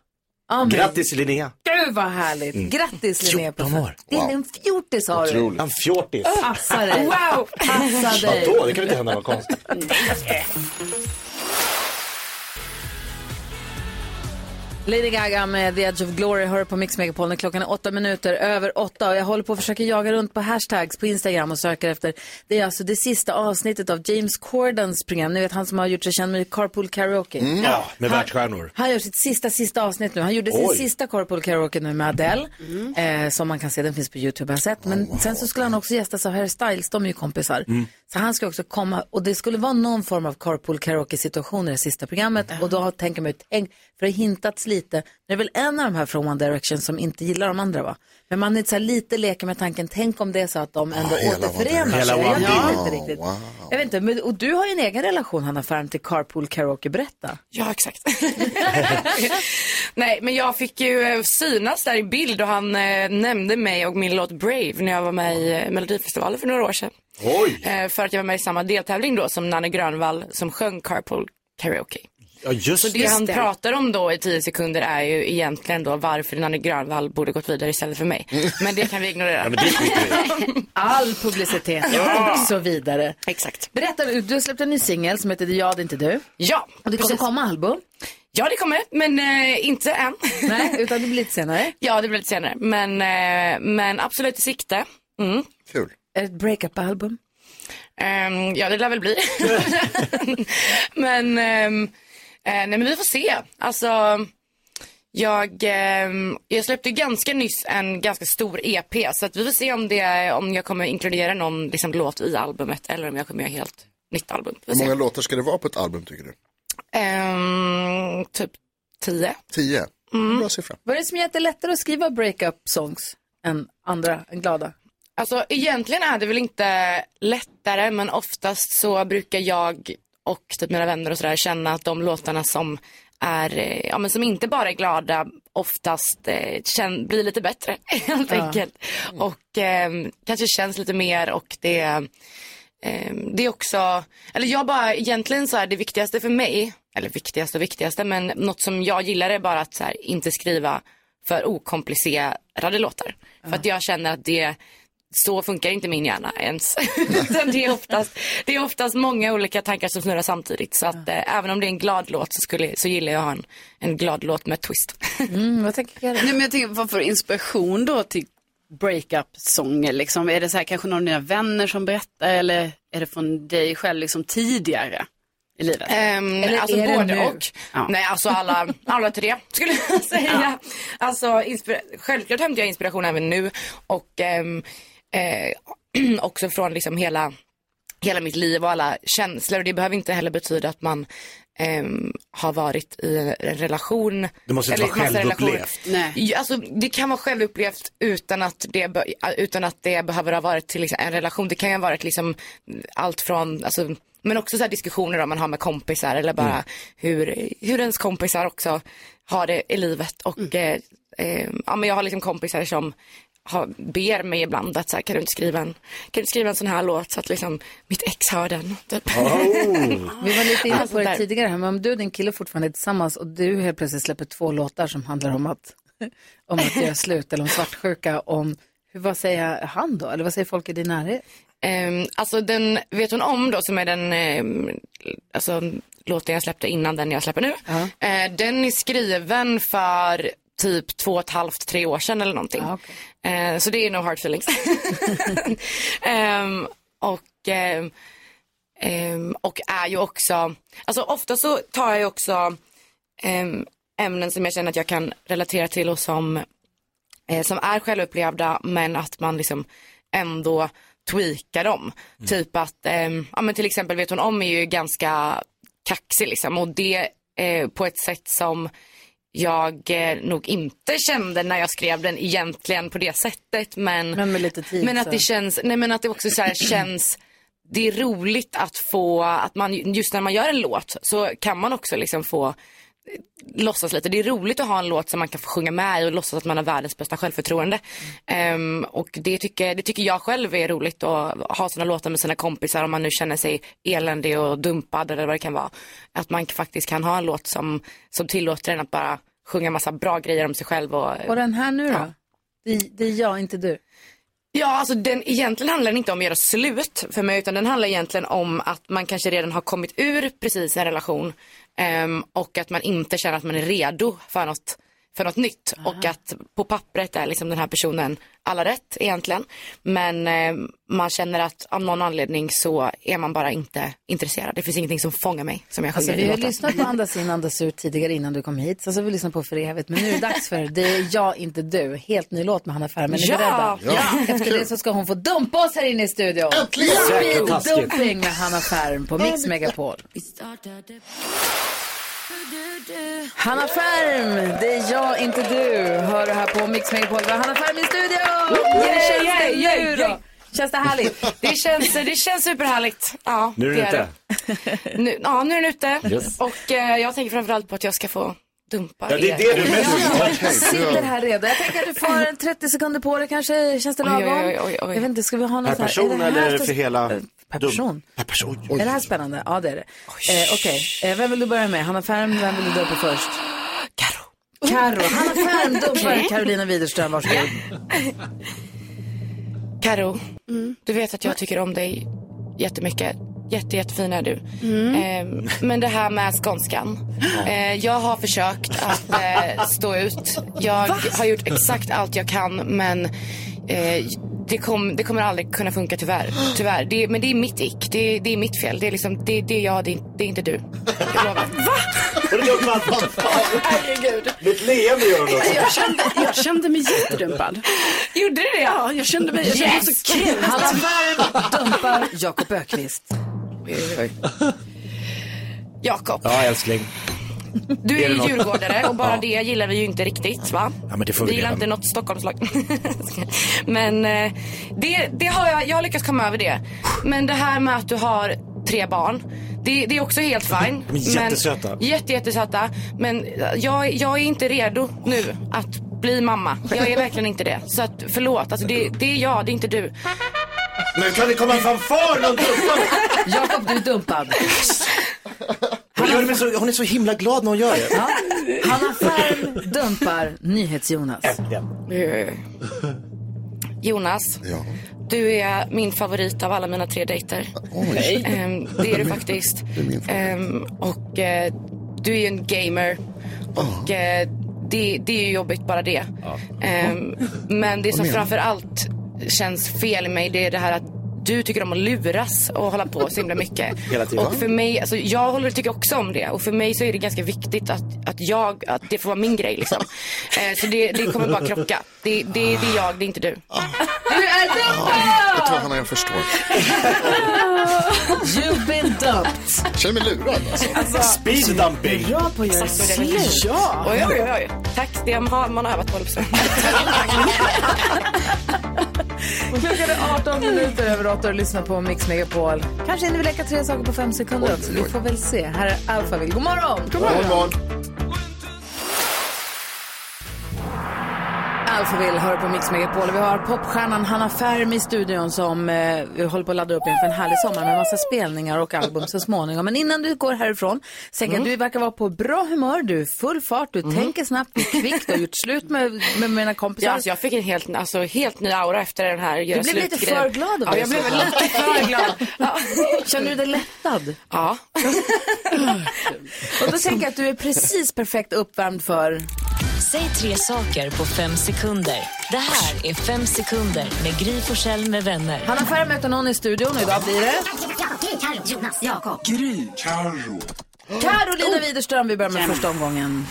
[SPEAKER 1] Ja, men-
[SPEAKER 2] Grattis Linnea!
[SPEAKER 1] Gud vad härligt. Grattis Linnea på
[SPEAKER 2] 14 Mm. år.
[SPEAKER 1] Det är en fjortis har du.
[SPEAKER 2] En fjortis.
[SPEAKER 1] Passa dig.
[SPEAKER 16] Wow.
[SPEAKER 1] Passa dig.
[SPEAKER 2] Vadå, det kan väl inte hända något konstigt.
[SPEAKER 1] Lady Gaga med The Edge of Glory hör på Mix Megapol när klockan är åtta minuter över åtta och jag håller på att försöka jaga runt på hashtags på Instagram och söker efter, det är alltså det sista avsnittet av James Cordens program, ni vet han som har gjort sig känd med Carpool Karaoke.
[SPEAKER 2] Mm. Ja, med världsstjärnor.
[SPEAKER 1] Han gör sitt sista, sista avsnitt nu. Han gjorde sin
[SPEAKER 2] Oj.
[SPEAKER 1] sista Carpool Karaoke nu med Adele.
[SPEAKER 15] Mm.
[SPEAKER 1] Eh, som man kan se, den finns på YouTube, har jag sett. Men sen så skulle han också gästas av Harry Styles, de är ju kompisar. Så han ska också komma, och det skulle vara någon form av Carpool Karaoke-situation i det sista programmet. Och då har- tänker man ju, tänk, för det har hintats lite. Det är väl en av de här från One Direction som inte gillar de andra va? Men man är så här lite leker med tanken, tänk om det är så att de ändå återförenar sig. Jag vet inte riktigt. Jag vet inte, men, och du har ju en egen relation Hanna Färm till Carpool Karaoke, berätta.
[SPEAKER 15] Ja, exakt. Nej, men jag fick ju eh, synas där i bild och han eh, nämnde mig och min låt Brave när jag var med i eh, Melodifestivalen för några år sedan.
[SPEAKER 2] Oj!
[SPEAKER 15] Eh, för att jag var med i samma deltävling då som Nanne Grönvall som sjöng Carpool Karaoke.
[SPEAKER 2] Ja,
[SPEAKER 15] Så
[SPEAKER 2] just
[SPEAKER 15] det han pratar om då i 10 sekunder är ju egentligen då varför Nanne Grönvall borde gått vidare istället för mig. Men det kan vi ignorera.
[SPEAKER 1] All publicitet och så vidare.
[SPEAKER 15] Exakt.
[SPEAKER 1] Berätta nu, du har släppt en ny singel som heter Jag, det är inte du.
[SPEAKER 15] Ja,
[SPEAKER 1] Och det kommer
[SPEAKER 15] precis.
[SPEAKER 1] komma album.
[SPEAKER 15] Ja, det kommer, men eh, inte än.
[SPEAKER 1] Nej, utan det blir lite senare.
[SPEAKER 15] ja, det blir lite senare. Men, eh, men absolut i sikte. Mm.
[SPEAKER 5] Kul.
[SPEAKER 1] Ett breakup-album.
[SPEAKER 15] Ehm, ja, det lär väl bli. men, ehm, eh, nej, men vi får se. Alltså, jag, ehm, jag släppte ju ganska nyss en ganska stor EP. Så att vi får se om, det, om jag kommer inkludera någon liksom, låt i albumet eller om jag kommer göra helt nytt album. Vi
[SPEAKER 5] Hur
[SPEAKER 15] får se.
[SPEAKER 5] många låtar ska det vara på ett album tycker du?
[SPEAKER 15] Ehm, typ tio. Mm.
[SPEAKER 5] Tio? Bra siffra.
[SPEAKER 1] Vad är det som gör att det är lättare att skriva breakup-songs än andra, än glada?
[SPEAKER 15] Alltså egentligen är det väl inte lättare men oftast så brukar jag och typ mina vänner och sådär känna att de låtarna som är, eh, ja men som inte bara är glada oftast eh, känn, blir lite bättre helt
[SPEAKER 16] Ja.
[SPEAKER 15] enkelt. Och eh, kanske känns lite mer och det, eh, det är också, eller jag bara egentligen så här det viktigaste för mig, eller viktigaste och viktigaste men något som jag gillar är bara att så här, inte skriva för okomplicerade låtar. För att jag känner att det så funkar inte min hjärna ens. Utan det, är oftast, det är oftast många olika tankar som snurrar samtidigt. Så att eh, även om det är en glad låt så, skulle, så gillar jag att ha en, en glad låt med twist.
[SPEAKER 1] Mm, vad tänker Karin?
[SPEAKER 7] Nej, men jag tänker, vad får du inspiration då till breakup-sånger? Liksom? Är det så här, kanske någon av dina vänner som berättar eller är det från dig själv liksom, tidigare i livet?
[SPEAKER 1] Eh,
[SPEAKER 15] Eller alltså är det både nu? och. Nej, alltså alla, alla tre skulle jag säga. Alltså, inspira- självklart hämtar jag inspiration även nu och ehm, eh, också från liksom hela, hela mitt liv och alla känslor. Och det behöver inte heller betyda att man ehm, har varit i en relation.
[SPEAKER 2] Det måste inte
[SPEAKER 15] eller
[SPEAKER 2] vara
[SPEAKER 15] massa relationer.
[SPEAKER 2] självupplevt.
[SPEAKER 7] Nej.
[SPEAKER 15] Ja, Alltså, det kan vara självupplevt utan att det, be- utan att det behöver ha varit till liksom, en relation. Det kan ju ha varit liksom allt från, alltså, men också så här diskussioner om man har med kompisar eller bara hur, hur ens kompisar också har det i livet. Och, eh, eh, ja, men jag har liksom kompisar som har, ber mig ibland att så här, kan, du inte skriva en, kan du inte skriva en sån här låt så att liksom, mitt ex hör den. Typ.
[SPEAKER 1] Oh. Vi var lite inne
[SPEAKER 15] Alltså,
[SPEAKER 1] på det
[SPEAKER 15] där.
[SPEAKER 1] tidigare här, men om du och din kille fortfarande är tillsammans och du helt plötsligt släpper två låtar som handlar om att, om att göra slut eller om svartsjuka, om, hur, vad säger han då? Eller vad säger folk i din närhet?
[SPEAKER 15] Ehm, alltså den vet hon om då som är den ehm, alltså, låten jag släppte innan den jag släpper nu. Eh, den är skriven för typ två och ett halvt, tre år sedan eller någonting. Eh, så det är no hard feelings. Ehm, och, ehm, ehm, och är ju också, alltså ofta så tar jag ju också ehm, ämnen som jag känner att jag kan relatera till och som eh, som är självupplevda men att man liksom ändå tweaka dem. Typ att, ehm, ja men till exempel vet hon om är ju ganska kaxig liksom och det eh, på ett sätt som jag eh, nog inte kände när jag skrev den egentligen på det sättet men,
[SPEAKER 1] Men med lite tid
[SPEAKER 15] men att
[SPEAKER 1] så.
[SPEAKER 15] det känns, nej men att det också så här känns det är roligt att få, att man just när man gör en låt så kan man också liksom få eh, låtsas lite. Det är roligt att ha en låt som man kan få sjunga med i och låtsas att man har världens bästa självförtroende. Ehm, och det tycker, det tycker jag själv är roligt att ha sina låtar med sina kompisar om man nu känner sig eländig och dumpad eller vad det kan vara. Att man faktiskt kan ha en låt som, som tillåter en att bara sjunga massa bra grejer om sig själv och
[SPEAKER 1] Och den här nu då? Det, det är jag, inte du.
[SPEAKER 15] Ja, alltså den, egentligen handlar den inte om att göra slut för mig utan den handlar egentligen om att man kanske redan har kommit ur precis en relation ehm, och att man inte känner att man är redo för något, för något nytt och att på pappret är liksom den här personen alla rätt egentligen men ehm, man känner att av någon anledning så är man bara inte intresserad. Det finns ingenting som fångar mig som jag
[SPEAKER 1] Alltså,
[SPEAKER 15] sjunger
[SPEAKER 1] vi
[SPEAKER 15] i
[SPEAKER 1] har
[SPEAKER 15] låten.
[SPEAKER 1] lyssnat på Andas in, andas ut tidigare innan du kom hit. Sen så har vi lyssnat på För evigt. Men nu är det dags för Det är jag, inte du. Helt ny låt med Hanna Ferm. Är ni
[SPEAKER 15] Ja!
[SPEAKER 1] beredda?
[SPEAKER 15] Ja!
[SPEAKER 1] Efter det så ska hon få dumpa oss här inne i studion.
[SPEAKER 17] Äntligen! Säkert taskigt.
[SPEAKER 1] Speeddumping med Hanna Ferm på Mix Megapol. Hanna Ferm, det är jag, inte du. Hör du här på Mix Megapol. Vi har Hanna Ferm i studion!
[SPEAKER 15] Woo!
[SPEAKER 1] Hur känns det
[SPEAKER 15] Yeah, yeah,
[SPEAKER 1] nu då?
[SPEAKER 15] yeah.
[SPEAKER 1] Känns det härligt?
[SPEAKER 15] Det känns, det känns superhärligt. Ja,
[SPEAKER 6] Nu är den
[SPEAKER 15] det
[SPEAKER 6] ute.
[SPEAKER 15] det. Nu, ja, nu är den ute.
[SPEAKER 6] Yes.
[SPEAKER 15] Och eh, jag tänker framförallt på att jag ska få dumpa
[SPEAKER 6] Ja, det är
[SPEAKER 15] er.
[SPEAKER 6] det du mest
[SPEAKER 1] Jag sitter här redo. Jag tänker att du får en 30 sekunder på dig kanske. Känns det
[SPEAKER 15] Oj,
[SPEAKER 1] lagom?
[SPEAKER 15] oj, oj, oj, oj.
[SPEAKER 1] Jag vet inte, ska vi ha något
[SPEAKER 6] Per
[SPEAKER 1] så här-
[SPEAKER 6] person
[SPEAKER 1] är det här
[SPEAKER 6] eller
[SPEAKER 1] så-
[SPEAKER 6] för hela?
[SPEAKER 1] Per person.
[SPEAKER 6] Per person.
[SPEAKER 1] Är det här spännande? Ja, det är det. Eh, Okej, eh, vem vill du börja med? Hanna Färm, vem vill du dö på först? Karo. Karo. Hanna Färm dumpar
[SPEAKER 15] Okej.
[SPEAKER 1] Carolina Widerström, varsågod.
[SPEAKER 15] Karo, du vet att jag tycker om dig jättemycket. Jätte, jättefin är du.
[SPEAKER 7] Mm.
[SPEAKER 15] Eh, men det här med skånskan. Eh, jag har försökt att eh, stå ut. Jag har gjort exakt allt jag kan men eh, det, kom, det kommer aldrig kunna funka tyvärr. tyvärr. Det, men det är mitt ick. Det, det är mitt fel. Det är, liksom, det, det är jag, det är, det är inte du. Jag lovar.
[SPEAKER 6] Har du gjort mattan?
[SPEAKER 15] Herregud.
[SPEAKER 6] Mitt leende gör du också.
[SPEAKER 7] Jag kände, jag kände mig jättedumpad.
[SPEAKER 15] Gjorde du det?
[SPEAKER 7] Ja, jag kände mig, jag kände mig så kränkt.
[SPEAKER 1] Hanna Färm dumpar Jakob Ökvist. Eh,
[SPEAKER 15] Jakob,
[SPEAKER 6] Ja, älskling.
[SPEAKER 15] du
[SPEAKER 6] Är
[SPEAKER 15] är
[SPEAKER 6] det
[SPEAKER 15] ju
[SPEAKER 6] något?
[SPEAKER 15] djurgårdare och bara
[SPEAKER 6] Ja.
[SPEAKER 15] det gillar vi ju inte riktigt va?
[SPEAKER 6] Ja, men det får vi
[SPEAKER 15] gillar
[SPEAKER 6] leva
[SPEAKER 15] inte
[SPEAKER 6] med.
[SPEAKER 15] något Stockholmslag. men eh, det, det har jag, jag har lyckats komma över det. Men det här med att du har tre barn, det, det är också helt fine.
[SPEAKER 6] De är jättesöta.
[SPEAKER 15] Men, jätte, jättesöta. Men jag, jag är inte redo nu att bli mamma. Jag är verkligen inte det. Så att, förlåt, alltså, det, det är jag, det är inte du.
[SPEAKER 6] Nu kan det komma en fanfar någon dumpar.
[SPEAKER 1] Jakob, du är dumpad.
[SPEAKER 6] Hon, gör det med så, hon är så himla glad när hon gör det.
[SPEAKER 1] Ja. Hanna Färm dumpar NyhetsJonas.
[SPEAKER 6] Äntligen.
[SPEAKER 15] Jonas, du är min favorit av alla mina tre dejter. Ehm, det är du faktiskt. Ehm, och eh, du är ju en gamer. Och eh, det, det är ju jobbigt bara det. Ehm, men det som framför allt känns fel i mig det är det här att du tycker om att luras och hålla på så himla mycket.
[SPEAKER 6] Hela tiden.
[SPEAKER 15] Och för mig, alltså, jag håller, tycker också om det och för mig så är det ganska viktigt att, att, jag, att det får vara min grej. Liksom. Eh, så det, det kommer bara krocka. Det, det, det är jag, det är inte du.
[SPEAKER 1] Du är
[SPEAKER 5] Jag tror
[SPEAKER 1] dumpad!
[SPEAKER 5] Hanna jag förstår.
[SPEAKER 1] You've been dumped.
[SPEAKER 5] Jag känner mig lurad alltså.
[SPEAKER 6] Speed dumping.
[SPEAKER 1] Bra på att göra
[SPEAKER 15] Så det är väl-
[SPEAKER 1] slut.
[SPEAKER 15] Oj, oj, oj, oj. Tack, det har man har övat på. Liksom.
[SPEAKER 1] Klockan är 18 minuter över 8 och lyssnar på Mix Megapol. Kanske hinner vi leka tre saker på fem sekunder också. Vi får väl se. Här är Alphaville. God morgon! God
[SPEAKER 5] God morgon.
[SPEAKER 1] Alphaville hör på Mix Megapol. Vi har popstjärnan Hanna Färm i studion som eh, vi håller på att ladda upp inför en härlig sommar med massa spelningar och album så småningom. Men innan du går härifrån, Senka,
[SPEAKER 15] Mm.
[SPEAKER 1] du verkar vara på bra humör, du är full fart, du tänker snabbt, du är kvick, du har gjort slut med, med mina kompisar.
[SPEAKER 15] Ja, alltså, jag fick en helt, alltså, helt ny aura efter den här göra
[SPEAKER 1] Du blev lite
[SPEAKER 15] slut-grejen.
[SPEAKER 1] för glad av
[SPEAKER 15] Ja,
[SPEAKER 1] det,
[SPEAKER 15] jag blev
[SPEAKER 1] så.
[SPEAKER 15] väl lite för glad. Ja.
[SPEAKER 1] Känner du dig lättad?
[SPEAKER 15] ja.
[SPEAKER 1] Och då tänker jag att du är precis perfekt uppvärmd för
[SPEAKER 14] Säg tre saker på fem sekunder. Det här är Fem sekunder med Gry Forssell med vänner.
[SPEAKER 1] Hanna Ferm möter någon i studion och idag blir det Carolina Widerström. Vi börjar med första omgången.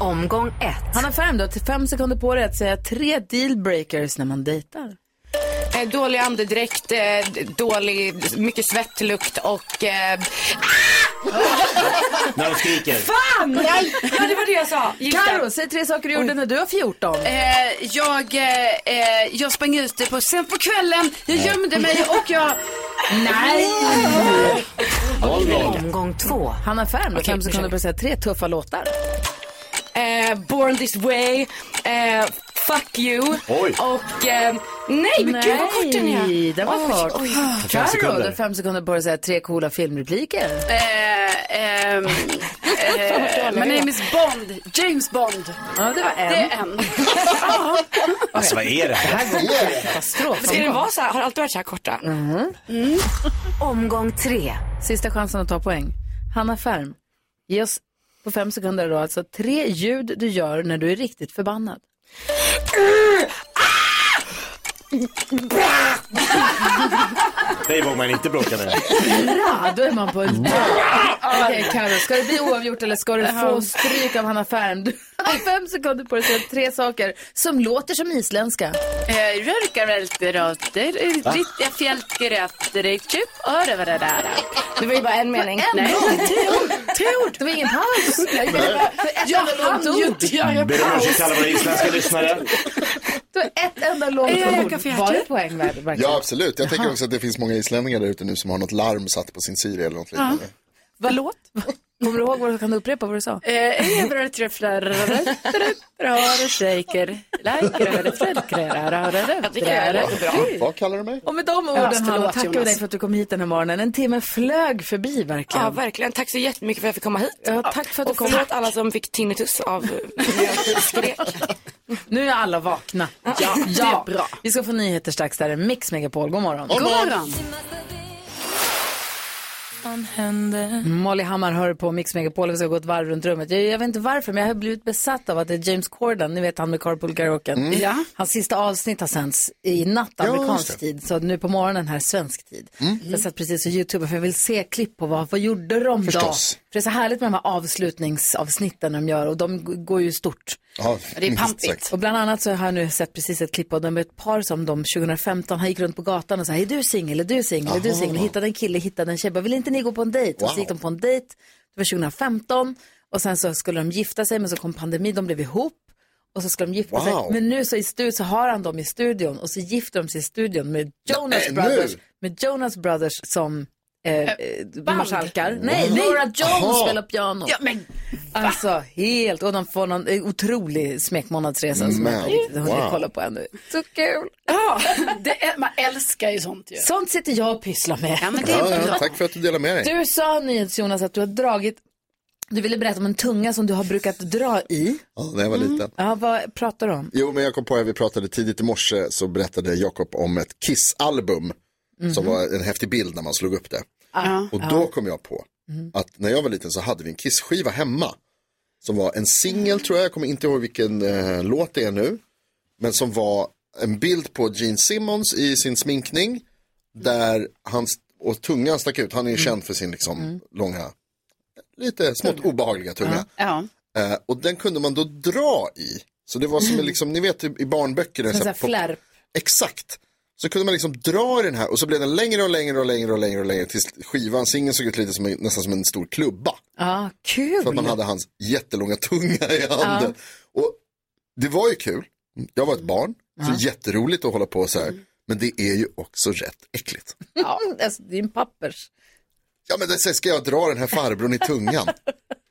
[SPEAKER 18] Omgång ett.
[SPEAKER 1] Hanna Ferm, du har till fem sekunder på dig att säga tre dealbreakers när man dejtar.
[SPEAKER 15] Eh, eh, dålig andedräkt, eh, d- dålig, mycket svettlukt och... Eh,
[SPEAKER 2] När de skriker.
[SPEAKER 15] fan! Nej! Ja, det var det jag sa.
[SPEAKER 1] Karo, säg tre saker du gjorde när du var 14.
[SPEAKER 7] Eh, jag, eh, eh, jag sprang ut på, sent på kvällen, jag gömde mig och jag... Nej!
[SPEAKER 1] Omgång två. Hanna Färm, du har fem sekunder på att säga tre tuffa låtar.
[SPEAKER 15] Eh, Born this way, eh, Fuck you
[SPEAKER 1] Oj.
[SPEAKER 15] och... Eh, nej, men gud vad kort den är.
[SPEAKER 1] Den var
[SPEAKER 15] Oj,
[SPEAKER 1] kort.
[SPEAKER 15] oj.
[SPEAKER 1] Carro, du har fem sekunder på dig att säga tre coola filmrepliker.
[SPEAKER 7] Eh, ehm, eh, my name is Bond, James Bond.
[SPEAKER 1] Ja, det var en.
[SPEAKER 7] Det är en.
[SPEAKER 2] Alltså vad är det här?
[SPEAKER 1] Katastrof. Mm.
[SPEAKER 15] Ska det vara så här? Har det alltid varit så här korta? Mm.
[SPEAKER 1] Omgång tre. Sista chansen att ta poäng. Hanna Färm, ge oss på fem sekunder då alltså tre ljud du gör när du är riktigt förbannad.
[SPEAKER 2] Nej, vågar man inte bråka med.
[SPEAKER 1] Bra, då är man på en Okej, Carro, ska det bli oavgjort eller ska du få stryk av Hanna Färm? Du har fem sekunder på dig att säga tre saker som låter som isländska.
[SPEAKER 7] Rörkarvälterötter, Eh, riktiga typ. fjällgrätter, kyp, örevarerara.
[SPEAKER 15] Det var ju bara en mening.
[SPEAKER 7] Nej, tre ord. Tre ord.
[SPEAKER 1] Det var ingen paus. Jag,
[SPEAKER 7] Jag hann ju inte göra
[SPEAKER 2] Ber om ursäkt
[SPEAKER 7] paus.
[SPEAKER 2] till alla våra isländska lyssnare.
[SPEAKER 1] Det var ett enda långt
[SPEAKER 7] Är jag
[SPEAKER 1] ord.
[SPEAKER 7] kaffehjärta?
[SPEAKER 1] Var det poäng värd? verkligen?
[SPEAKER 5] Ja, absolut. Jag tänker också att det finns många islänningar där ute nu som har något larm satt på sin Siri eller något liknande.
[SPEAKER 7] Förlåt? Eh,
[SPEAKER 1] Kommer du ihåg vad du kan du upprepa vad du sa?
[SPEAKER 7] Evrör träfflar, rör shaker, lajkrör, flällkrör,
[SPEAKER 5] Vad- Vad kallar du mig?
[SPEAKER 1] Och med de
[SPEAKER 7] Ja,
[SPEAKER 1] orden,
[SPEAKER 7] förlåt,
[SPEAKER 1] Hanna, tackar vi
[SPEAKER 7] Jonas.
[SPEAKER 1] dig för att du kom hit den här morgonen. En timme flög förbi verkligen.
[SPEAKER 15] Ja, verkligen. Tack så jättemycket för att jag fick komma hit.
[SPEAKER 1] Ja, tack för att du
[SPEAKER 15] Och
[SPEAKER 1] kom.
[SPEAKER 15] förlåt alla som fick tinnitus av när jag skrek.
[SPEAKER 1] Nu är alla vakna. Ja,
[SPEAKER 7] det är
[SPEAKER 1] bra. Vi ska få nyheter strax. Där är Mix Megapol. God morgon.
[SPEAKER 5] God
[SPEAKER 7] morgon.
[SPEAKER 1] Molly Hammar hör på Mix Megapol. Vi ska gå ett varv runt rummet. Jag, jag vet inte varför, men jag har blivit besatt av att det är James Corden, ni vet han med Carpool Karaoke.
[SPEAKER 7] Mm. Ja.
[SPEAKER 1] Hans sista avsnitt har sänts i natt, amerikansk tid. Så nu på morgonen här, svensk tid.
[SPEAKER 7] Mm.
[SPEAKER 1] Så jag satt precis och youtube för jag vill se klipp på vad, vad gjorde de då?
[SPEAKER 5] Förstås.
[SPEAKER 1] För det är så härligt med de här avslutningsavsnitten de gör och de g- går ju stort.
[SPEAKER 5] Ja,
[SPEAKER 7] det är
[SPEAKER 5] minst
[SPEAKER 7] pampigt.
[SPEAKER 5] sagt.
[SPEAKER 1] Och bland annat så har jag nu sett precis ett klipp av dem, ett par som de 2015 har gick runt på gatan och sa, är du singel, är du singel, är du singel, hittade en kille, hittade en tjej, bara, vill inte ni gå på en dejt? Och så
[SPEAKER 5] Wow.
[SPEAKER 1] gick de på en dejt, det var 2015 och sen så skulle de gifta sig men så kom pandemin, de blev ihop och så skulle de gifta sig.
[SPEAKER 5] Wow.
[SPEAKER 1] Men nu så i studion så har han dem i studion och så gifter de sig i studion med Jonas
[SPEAKER 5] Nej,
[SPEAKER 1] Brothers,
[SPEAKER 5] nu?
[SPEAKER 1] med Jonas Brothers som eh, eh, marskalkar. Nej,
[SPEAKER 5] Wow.
[SPEAKER 1] Nora Jones
[SPEAKER 5] Aha.
[SPEAKER 1] spelar piano.
[SPEAKER 7] Ja, men
[SPEAKER 1] Alltså helt, och de får någon eh, otrolig smekmånadsresa som jag
[SPEAKER 5] Men,
[SPEAKER 1] inte riktigt hunnit
[SPEAKER 5] wow.
[SPEAKER 1] kolla på ännu. Så kul!
[SPEAKER 7] ja, det är, man älskar ju sånt ju.
[SPEAKER 1] Sånt sitter jag och pysslar med.
[SPEAKER 7] Ja, men det
[SPEAKER 5] Ja,
[SPEAKER 7] är
[SPEAKER 5] ja,
[SPEAKER 7] bra.
[SPEAKER 5] tack för att du delar med dig.
[SPEAKER 1] Du sa nyhets Jonas att du har dragit, du ville berätta om en tunga som du har brukat dra i.
[SPEAKER 5] Ja, när jag var liten.
[SPEAKER 1] Mm. Ja, vad pratar du om?
[SPEAKER 5] Jo, men jag kom på att vi pratade tidigt i morse så berättade Jakob om ett Kiss-album som var en häftig bild när man slog upp det. Och då kom jag på att när jag var liten så hade vi en Kiss-skiva hemma som var en singel tror jag, jag kommer inte ihåg vilken eh, låt det är nu, men som var en bild på Gene Simmons i sin sminkning där hans och tungan stack ut, han är ju känd för sin liksom långa, lite smått obehagliga tunga.
[SPEAKER 7] Ja.
[SPEAKER 5] Eh, och den kunde man då dra i. Så det var som en liksom, ni vet i barnböcker. där
[SPEAKER 1] En sån här
[SPEAKER 5] på-
[SPEAKER 1] flärp.
[SPEAKER 5] Exakt. Så kunde man liksom dra i den här och så blev den längre och längre och längre och längre och längre tills skivan, singeln såg ut lite som en, nästan som en stor klubba.
[SPEAKER 1] Ja,
[SPEAKER 5] För att man
[SPEAKER 1] kul!
[SPEAKER 5] hade hans jättelånga tunga i handen. Och det var ju kul. Jag var ett barn, så jätteroligt att hålla på så här.
[SPEAKER 1] Mm.
[SPEAKER 5] Men det är ju också rätt äckligt.
[SPEAKER 1] Ja, alltså, din pappers.
[SPEAKER 5] Ja men det- sen ska jag dra den här farbrorn i tungan.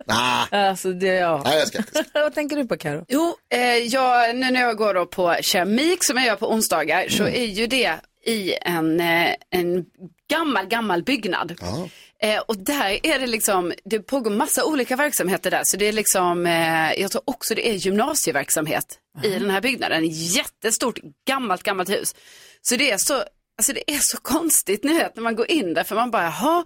[SPEAKER 5] Nej,
[SPEAKER 1] Alltså, det, ja.
[SPEAKER 5] nej jag ska inte.
[SPEAKER 1] vad tänker du på Karo?
[SPEAKER 7] Jo, eh, jag, nu när jag går då på keramik som jag gör på onsdagar så är ju det i en, eh, en gammal, gammal byggnad.
[SPEAKER 5] Ja.
[SPEAKER 7] Eh, och där är det liksom, det pågår massa olika verksamheter där. Så det är liksom, eh, jag tror också det är gymnasieverksamhet i den här byggnaden. Jättestort, gammalt, gammalt hus. Så det är så, alltså det är så konstigt nu vet, när man går in där för man bara, jaha,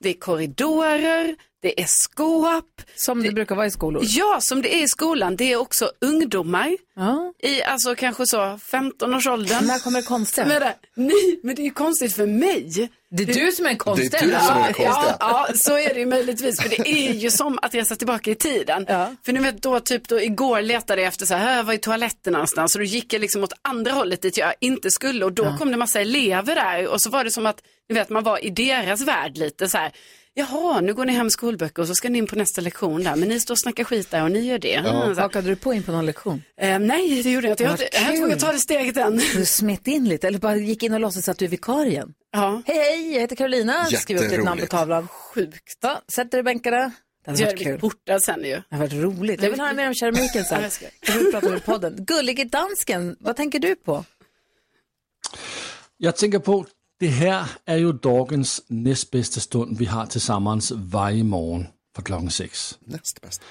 [SPEAKER 7] det är korridorer, det är skåp.
[SPEAKER 1] Som det, brukar vara i skolor.
[SPEAKER 7] Ja, som det är i skolan, det är också ungdomar
[SPEAKER 1] Ja.
[SPEAKER 7] i alltså kanske så 15-årsåldern.
[SPEAKER 1] När kommer det konstiga?
[SPEAKER 7] Men det, nej, men det är ju konstigt för mig.
[SPEAKER 19] Det är du som är
[SPEAKER 5] konstnär. Det är du som är konstnär.
[SPEAKER 7] Ja, ja, så är det ju möjligtvis. För det är ju som att resa tillbaka i tiden. För nu vet då, typ då igår letade jag efter så här, här var ju toaletten någonstans. Så då gick jag liksom åt andra hållet dit jag inte skulle. Och då kom det massa elever där. Och så var det som att, ni vet, man var i deras värld lite så här. Jaha, nu går ni hem skolböcker och så ska ni in på nästa lektion där. Men ni står och snackar skit där och ni gör det. Mm, så här.
[SPEAKER 1] Hakade du på in på någon lektion?
[SPEAKER 7] Eh, nej, det gjorde jag inte. Jag har inte- jag har inte vågat ta det steget än.
[SPEAKER 1] Du smet in lite, eller bara gick in och låtsades att du är vikarien.
[SPEAKER 7] Ja.
[SPEAKER 1] Hej, hej, jag heter Carolina. Skriv upp ditt namn på
[SPEAKER 19] Jätteroligt.
[SPEAKER 1] tavlan. Sjukt. Ja, sätt dig i bänkarna. Det hade
[SPEAKER 7] Jag
[SPEAKER 1] varit
[SPEAKER 7] hade blivit
[SPEAKER 1] kul.
[SPEAKER 7] borta sen ju.
[SPEAKER 1] Det har varit roligt. Jag vill höra mer om keramiken sen.
[SPEAKER 7] Ja, jag ska.
[SPEAKER 1] Jag vill prata om det i podden. Gullige dansken, vad tänker du på?
[SPEAKER 4] Jeg tænker på, det her er jo dagens næstbedste stund, vi har til sammens hver morgen fra klokken 6.
[SPEAKER 5] Næstbedste.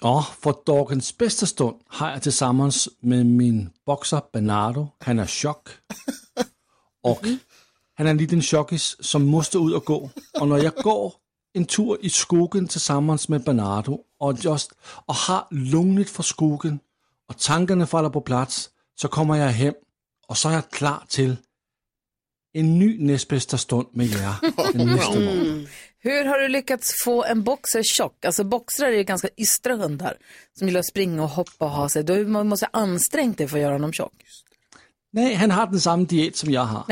[SPEAKER 4] Og for dagens bedste stund har jeg til sammens med min bokser Bernardo. Han er chok. Og han er en liten chokis, som måste ud og gå. Og når jeg går en tur i skogen til sammens med Bernardo, og, just, og har lungnet for skogen, og tankerne falder på plads, så kommer jeg hjem, og så er jeg klar til en ny næstbedste stund med jer den næste morgen.
[SPEAKER 1] Mm.
[SPEAKER 7] Mm.
[SPEAKER 1] Hur har du lyckats få en boxer tjock? Alltså boxrar är ju ganska ystra hundar som gillar att springa och hoppa och ha sig. Du må- måste ha ansträngt dig för att göra honom tjock.
[SPEAKER 4] Nej, han har den samme diæt, som jeg har.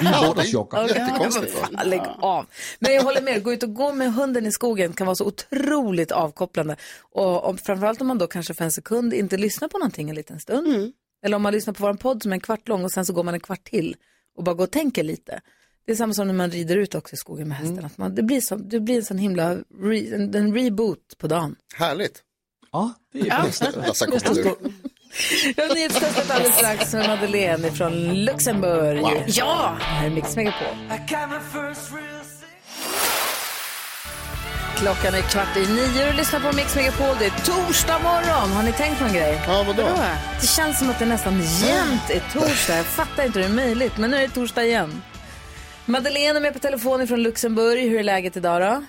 [SPEAKER 4] Vi er rundt og chokker.
[SPEAKER 1] Ja, ja, Lägg av. Men jag håller med, gå ut och gå med hunden i skogen kan vara så otroligt avkopplande. Och om, framförallt om man då kanske för en sekund inte lyssnar på någonting en liten stund. Eller om man lyssnar på vår podd som är en kvart lång och sen så går man en kvart till och bara går och tänker lite. Det är samma som när man rider ut också i skogen med hästen. Att man, det, blir som, det blir en sån himla re, en, en reboot på dagen.
[SPEAKER 5] Härligt.
[SPEAKER 4] Ja, det
[SPEAKER 1] Ja.
[SPEAKER 5] är bästa. Lasse
[SPEAKER 1] Nästa
[SPEAKER 5] kommer
[SPEAKER 1] stund. Jag har nyhetstestat alldeles strax med Madeleine från Luxemburg.
[SPEAKER 20] Wow.
[SPEAKER 1] Ja! Här är Mix Megapol. Klockan är kvart i nio och lyssnar på Mix Megapol. Det är torsdag morgon. Har ni tänkt någon grej?
[SPEAKER 5] Ja, vadå?
[SPEAKER 1] Det känns som att det nästan jämt är torsdag. Jag fattar inte hur det är möjligt, men nu är det torsdag igen. Madeleine är med på telefon från Luxemburg. Hur är läget idag då?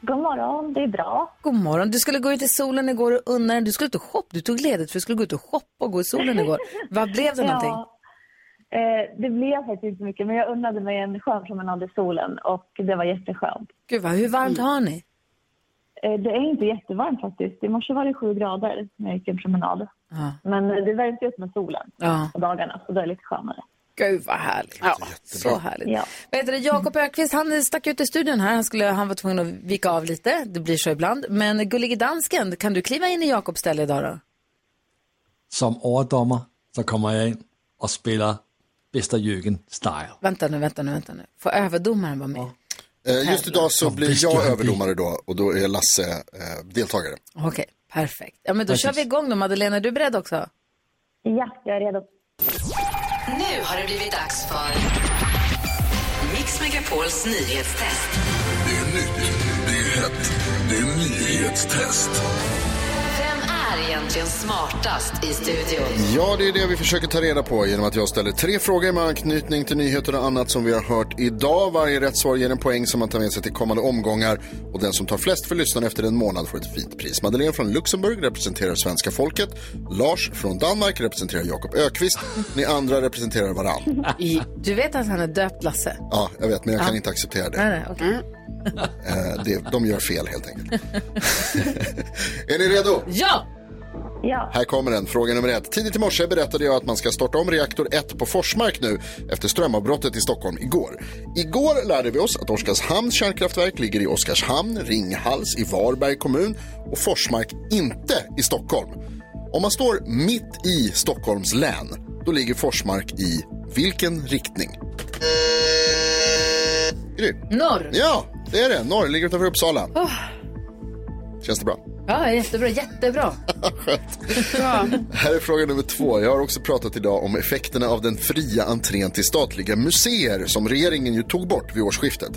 [SPEAKER 6] God morgon, det är bra.
[SPEAKER 1] God morgon. Du skulle gå ut i solen igår och unna dig. Du skulle ut och shoppa. Du tog ledigt för du skulle gå ut och shoppa och gå i solen igår. Vad blev det någonting?
[SPEAKER 6] Ja, eh, det blev faktiskt inte mycket, men jag unnade mig en skön promenad i solen och det var jätteskönt.
[SPEAKER 1] Gud vad, hur varmt har ni?
[SPEAKER 6] Eh, det är inte jättevarmt faktiskt. I morse var det sju grader när jag gick en promenad.
[SPEAKER 1] Ja.
[SPEAKER 6] Men eh, det värms ju upp med solen
[SPEAKER 1] Ja.
[SPEAKER 6] på dagarna, så det är lite skönare.
[SPEAKER 1] Gud vad härligt. Ja, så härligt.
[SPEAKER 6] Ja.
[SPEAKER 1] Vad heter det? Jakob Ökvist, han stack ut i studion här. Han, skulle, han var tvungen att vika av lite. Det blir så ibland. Men gullige dansken, kan du kliva in i Jakobs ställe idag då?
[SPEAKER 4] Som overdommer, så kommer jeg ind og spiller Bester Jürgen Style.
[SPEAKER 1] Vänta nu, vänta nu, vänta nu. Får överdomaren vara med?
[SPEAKER 5] Eh, just idag så blir
[SPEAKER 4] visst gör
[SPEAKER 5] jag
[SPEAKER 4] han
[SPEAKER 5] överdomare då och då är Lasse eh, deltagare.
[SPEAKER 1] Okej, perfekt. Ja, men då kör vi igång då. Madeleine, är du beredd också?
[SPEAKER 6] Ja, jag är redo.
[SPEAKER 21] Nu har det blivit dags för Mix Megapols nyhetstest.
[SPEAKER 22] Det är nyhetstest.
[SPEAKER 21] Vem är egentligen smartast i studion?
[SPEAKER 5] Ja, det är det vi försöker ta reda på genom att jag ställer tre frågor med anknytning till nyheter och annat som vi har hört idag. Varje rätt svar ger en poäng som man tar med sig till kommande omgångar och den som tar flest för lyssnarna efter en månad får ett fint pris. Madeleine från Luxemburg representerar svenska folket. Lars från Danmark representerar Jakob Ökvist. Ni andra representerar varann.
[SPEAKER 1] Du vet att han är döpt Lasse?
[SPEAKER 5] Ja, jag vet, men jag kan
[SPEAKER 1] Ja.
[SPEAKER 5] inte acceptera det.
[SPEAKER 1] Nej, nej, okej.
[SPEAKER 7] Mm.
[SPEAKER 5] Eh, det de gör fel helt enkelt. är ni redo?
[SPEAKER 1] Ja!
[SPEAKER 6] Ja.
[SPEAKER 5] Här kommer den, fråga nummer ett. Tidigt i morse berättade jag att man ska starta om reaktor 1 på Forsmark nu efter strömavbrottet i Stockholm igår. Igår lärde vi oss att Oskarshamns kärnkraftverk ligger i Oskarshamn, Ringhals i Varberg kommun och Forsmark inte i Stockholm. Om man står mitt i Stockholms län, då ligger Forsmark i vilken riktning? Gry?
[SPEAKER 1] Norr.
[SPEAKER 5] Ja, det är det. Norr ligger utanför Uppsala. Känns det bra?
[SPEAKER 1] Ja, jättebra, jättebra.
[SPEAKER 5] Här är fråga nummer två. Jag har också pratat idag om effekterna av den fria entrén till statliga museer som regeringen ju tog bort vid årsskiftet.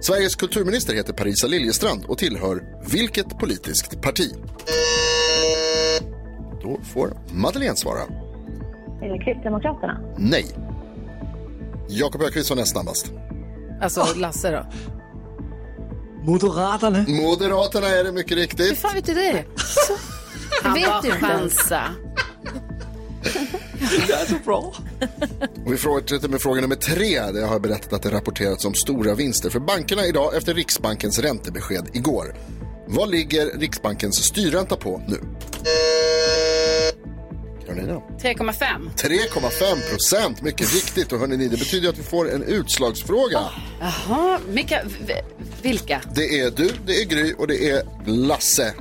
[SPEAKER 5] Sveriges kulturminister heter Parisa Liljestrand och tillhör vilket politiskt parti? Då får Madeleine svara.
[SPEAKER 6] Eh, Kristdemokraterna.
[SPEAKER 5] Nej. Jakob Öqvist var näst snabbast.
[SPEAKER 1] Alltså Lasse då?
[SPEAKER 4] Moderaterne.
[SPEAKER 5] Moderaterna är det mycket riktigt.
[SPEAKER 1] Fan vet du det?
[SPEAKER 7] Han
[SPEAKER 1] vet
[SPEAKER 7] bara
[SPEAKER 1] ju inte.
[SPEAKER 7] chansa.
[SPEAKER 4] Det är så bra.
[SPEAKER 5] Och vi fortsätter med fråga nummer tre. Där jag har berättat att det rapporterats om stora vinster för bankerna idag efter Riksbankens räntebesked igår. Vad ligger Riksbankens styrränta på nu? Carolina?
[SPEAKER 7] 3,5.
[SPEAKER 5] 3,5 procent, mycket riktigt. Och hörni, ni, det betyder att vi får en utslagsfråga.
[SPEAKER 7] Jaha, vilka? v- vilka?
[SPEAKER 5] Det är du, det är Gry och det är Lasse,